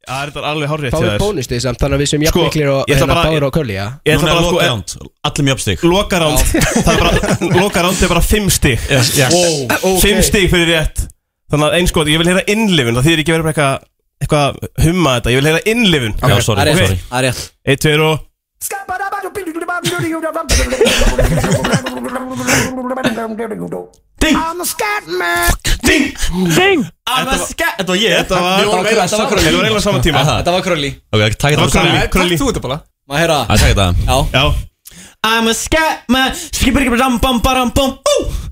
Já, þetta er alveg hárrétt hjá
Fáðu
þér.
bónustið samt þannig að við sem
Sko,
jafnmiklir og
ég ætla
hérna
bara-
báður og kölli, já
Ég ætla
Núna
bara
er
að sko
lokaránd Allir mjög uppstig
Lokaránd Það er bara Lokaránd er bara fimm stig
Yes, yes.
Wow, ok.
Fimm stig fyrir rétt Þannig að eins sko Ég vil heyra innlifun Það þýðir ekki verið bara eitthvað Eitthvað að humma þetta Ég vil heyra innlifun
Já, sorry,
Ok.
sorry.
Það er rétt
Eitt, tveir og Ding
I'm a scat man
Ding
Ding
Þetta var- Þetta var ég
Þetta var
Þetta var-
Þetta var Krölli
Þetta var eiginlega saman tíma
Aha.
Þetta var Krölli
Ok, ekki taka þetta saman.
Krulli
þú þetta bara Má heyra
Það er takk þetta
Já
Já
I'm a scat man Skibirgibirambambarambam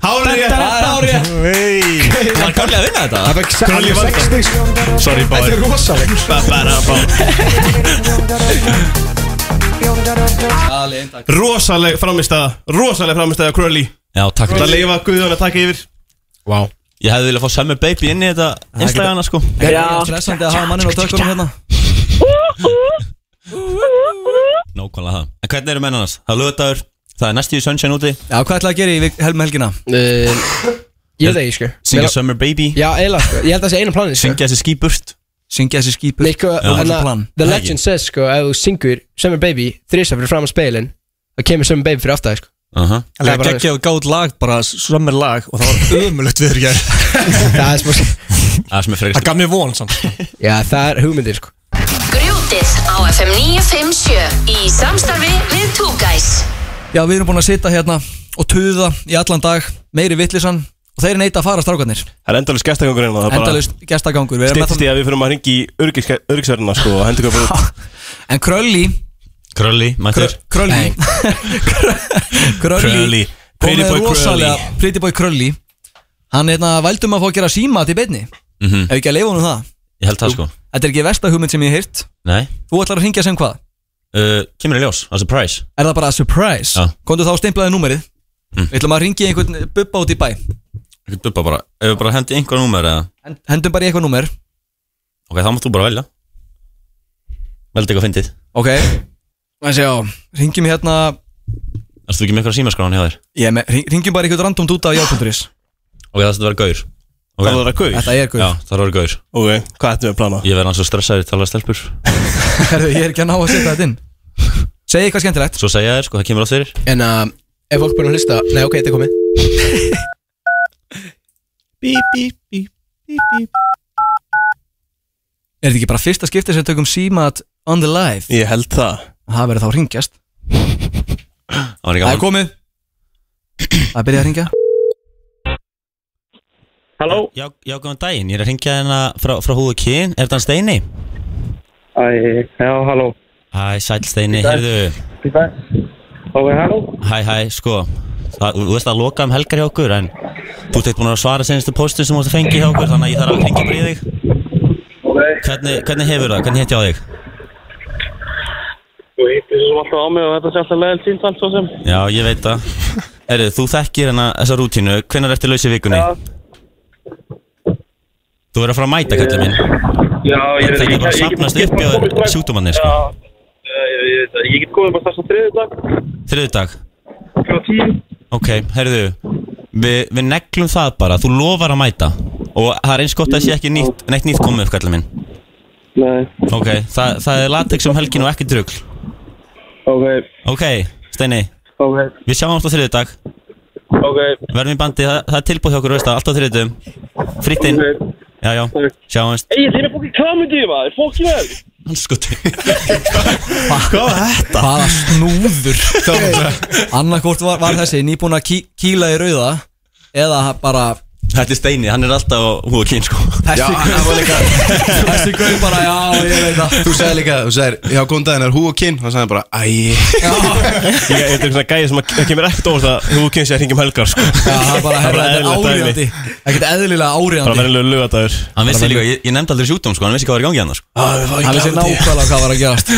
Hárið rétt.
Hárið
Hey.
Var Krölli að vinna þetta?
Það var ekki
Krulli var
sex stig
Sorry, báðir.
Þetta er rosalegt
Rosaleg framistæða Rosaleg framistæða Krulli
Já, takk
Það leifa Guðjón að taka yfir
Vá Ég hefði viljað fá Summer Baby inn í þetta Instagramna sko
Það er ekki stressandi að hafa mannin á tökunum hérna
Nákvæmlega það En hvernig eru menn annars? Það er lögadagur Það er næstíðu sunshine úti
Já, hvað ætlaði að gera í vik- hel- með helgina?
Ég veit það ekki, sko
Syngja
Mér-
Summer Baby
Já, eiginlega, sko Ég held að það sé eina planið, sko
Syngja þessi ský burt
Syngja þessi ský burt
Sko,
Já.
þannig
Plan.
að The Legend says, sko Ef þú syngur Summer Baby Þrísa fyrir fram á speilin Það kemur Summer Baby fyrir aftar, sko
Aha
Það er
Það
bara-
geggja og gáð lag, bara sömmir lag Og það var ömulegt viður gær
Það er smá
Það sem er frekar
Það gaf mér von samt
Já, það er hugmyndir, sko
Grjótið á FM 957 í samstarfi við Two Guys
Já, við erum búin að sitja hérna og tuða í allan dag Meiri vittlisann Og þeir neita að fara strákarnir
Það er endalist gestagangur einnig
Endalaust gestagangur Við erum með
Stittist í að við fyrir að ringi í örgisverðina sko og hendur hvað fyrir
það- En Krölli
Krölli, mættur
Krölli Krölli
Krölli.
Pretty boy rosalega,
Krölli.
Pretty boy Krölli Hann hérna vældum að fá að gera símat í beinni
Mhm.
Ef ekki að leifa honum það
Ég held það sko
Þetta er ekki versta hugmynd sem ég hef heyrt
Nei
Þú ætlar að hringja sem hvað?
Uh, Kemur í ljós, að surprise
Er það bara surprise?
Já. Mm.
Kondu þá stemplaði númerið Við ætlum að ringja einhvern bubba út í bæ
Ekki dubba bara Ef við bara hendi einhver númer eða
Hendum bara í eitthvað númer
Ok, þá mátt þú bara velja Veldi eitthvað fyndið
Ok Það sé á Ringjum hérna
Erstu ekki með eitthvað símaskrána hjá þér?
Ég með hring- Ringjum bara eitthvað random dúta á já.is
Ok, það þetta verður gaur okay.
Það verður gaur?
Þetta er gaur.
Já, það verður gaur
Ok, hvað ættum við að plana?
Ég verð hans að stressaður til að stelpur
Herðu, ég er ekki að ná að setja þetta inn Segði eitthvað skemmtilegt
Svo segja þér, sko, það kemur á þeir
En að Ef fólk búin að hlusta Nei, ok, þetta er komið
Bíp, bíp, bíp, bíp, bíp
Er þetta ekki bara fyrsta skipti sem við tökum símat on the live?
Ég held það
Það verður þá að ringjast
Það
Það er komið Það byrja að ringja
Halló Já, já, góðan daginn, ég er að ringja hérna frá, frá húðu kyn Er þetta hann Steini?
Æ, já, halló
Hæ, sæl Steini,
Í dag.
heyrðu
Í dag Ok, halló
Hæ, hæ, sko það, Þú veist að loka um helgar hjá okkur En þú ert ekkert búin að svara senstu postum sem þú ert að fengi hjá okkur Þannig að ég þarf að ringja bara í þig Hvernig, hvernig hefur það? Hvernig hétt ég á þig?
Þú hittir svo alltaf á mig og þetta sé alltaf leðil síntal svo sem
Já, ég veit það Heyrðu, þú þekkir hérna þessa rútínu Hvenær ertu laus í vikunni? Já Þú verður að fara að mæta, kallið minn
Já, ég veit
Það getur
ekki
bara að sapnast upp hjá sjúkdómannir, sko
Ég ég veit það, ég get komið bara þess að þriðið dag
Þriðu dag Ok, heyrðu Við vi neglum það bara, þú lofar að mæta Og það er eins gott að það sé ekki nýtt, neitt nýtt komið upp kallið minn
Nei,
Ok, það, það er latex um helgin og ekki drugl
ok,
Ok, Steini
ok,
Við sjáum alltaf þriðu dag
ok
Verðum í bandi, það, það er tilbúið hjá okkur, veist það, alltaf þriðutum Fritt inn Já, já, sjáumst
Ey, þeir eru fokkin kamundi maður, fokkin vel
Hanskotin
Hvað var þetta? Hvaða snúður Annarkort var, var þessi nýbúin að kí, kýla í rauða Eða bara
Þetta er Steini, hann er alltaf á hú og kyn sko
Þessi gaur- Þessi gaur bara Já, ég veit það
Þú sagði líka, þú sagðir, já, góðan daginn, er hú og kinn? Og það sagði hann bara, æj
Ég ég- þetta er svona gæði sem að það kemur ekkert óvart að þú kynst ég að hringjum helgar sko.
Já, það er bara,
Það er bara
herra, þetta er
eðlilegt dæmi.
áriðandi Ekkert eðlilega
Bara
áriðandi
verðilega lögadagur
Hann vissi líka, ég, ég nefndi aldrei sjúkdóm sko, hann vissi hvað var í gangi hann sko
Hann vissi nákvæmlega hvað var að gerast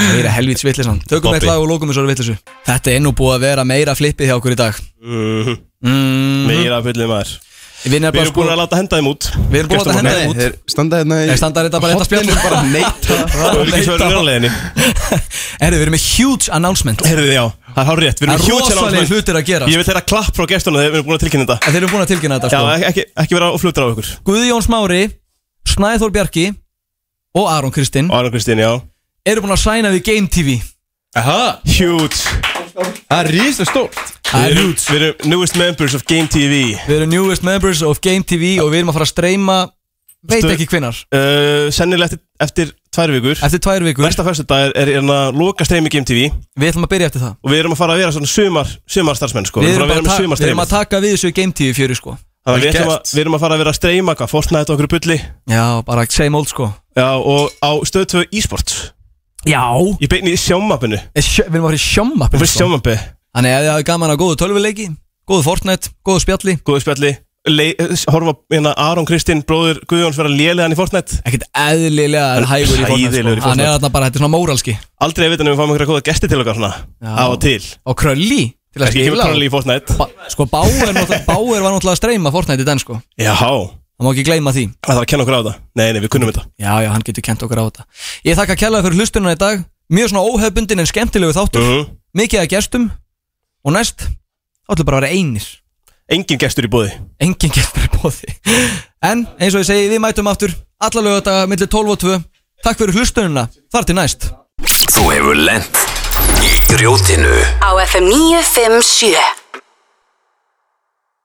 Það er helvíts vittlisann Tökum eitt
Bobby.
lag og lókum þessu vittlisu Þetta er nú búið að vera meira flippið hjá okkur í dag
Mhm.
Mm.
Meira fullið maður
Við erum
bara sko- búin að láta henda þeim út
Við erum búin að láta henda þeim út.
Þeir standa hérna í
Þeir standa hérna bara rétt að spjalla.
Horninu bara neita
Þú er ekki svo verið ráleginni
Herru, við erum með huge announcement
Herðu, já, það er hár rétt Við erum
Það
með
er
huge
rosalegir
announcement.
hlutir að gerast.
Ég vil þeirra klapp frá gestunum þegar við erum búin að tilkynna þetta
En þeir eru búin að tilkynna þetta
Já,
sko.
eh. ekki- ekki, ekki vera að flutra á ykkur
Guðjón Smári, Snæþór Bjarki og Aron Kristinn
Aron Kristinn, já
Eru búin að sæna við Game TV
Aha Huge
Það er rísa stórt
Það er
Við erum- Við erum newest members of Game TV
Við erum newest members of Game TV og við erum að fara að streyma Veit
Stöð-
ekki hvinnar
uh, Sennilega eftir, eftir tvær vikur
Eftir tvær vikur
Næsta fyrstudag er, er, er að loka streymi Game TV
Við ætlum að byrja eftir það
Og við erum að fara að vera svona sumar, sumar starfsmenn sko.
Við erum,
að
bara
vera
að,
með
ta-
sumar
við erum að taka við þessu Game TV fjöru sko
Þannig að við,
Vel gert.
ætlum að, við erum að fara að vera að streyma hvað Fortnite og okkur bulli
Já, bara same old sko
Já, og á stöð 2 e-sports
Já
Ég beinni í sjómapinu Við
Við erum að fara í sjómmappi
erum sjómapi
Þannig að þið hafið gaman að góðu tölvuleiki Góðu Fortnite, góðu spjalli
Góðu spjalli Le Horfa hérna Aron Kristinn, bróður Guðjóns vera lélegan í Fortnite
Ekkert eðlilega en hægur í Fortnite
Hæðilegur í
sko. Hann er
Fortnite
þarna bara, þetta er svona móralski
Aldrei að vita nefnum við fáum einhverja góða gesti til okkar svona Á og til
Og krölli til að
Ekki kemur
skila
Kralli í Fortnite
Ba- Sko Bauer, náttúrulega- Bauer var náttúrulega að streyma Fortnite í den sko
Já Það
má ekki gleyma því
þarf að kenna okkur á þetta Nei, nei, við kunnum þetta
Já, já, hann getur kent okkur á þetta Ég þakka kærlega fyrir hlustununa í dag Mjög svona óhefbundin en skemmtilegu þáttur
Mhm.
Mikið að gestum Og næst, þá ætlum við bara að vera einir
Engin gestur í bóði
Engin gestur í bóði En eins og ég segi, við mætum aftur Alla lögadaga millir 12 og 2 Takk fyrir hlustununa, þar til næst
Þú hefur lent í grjótinu
Á FM 957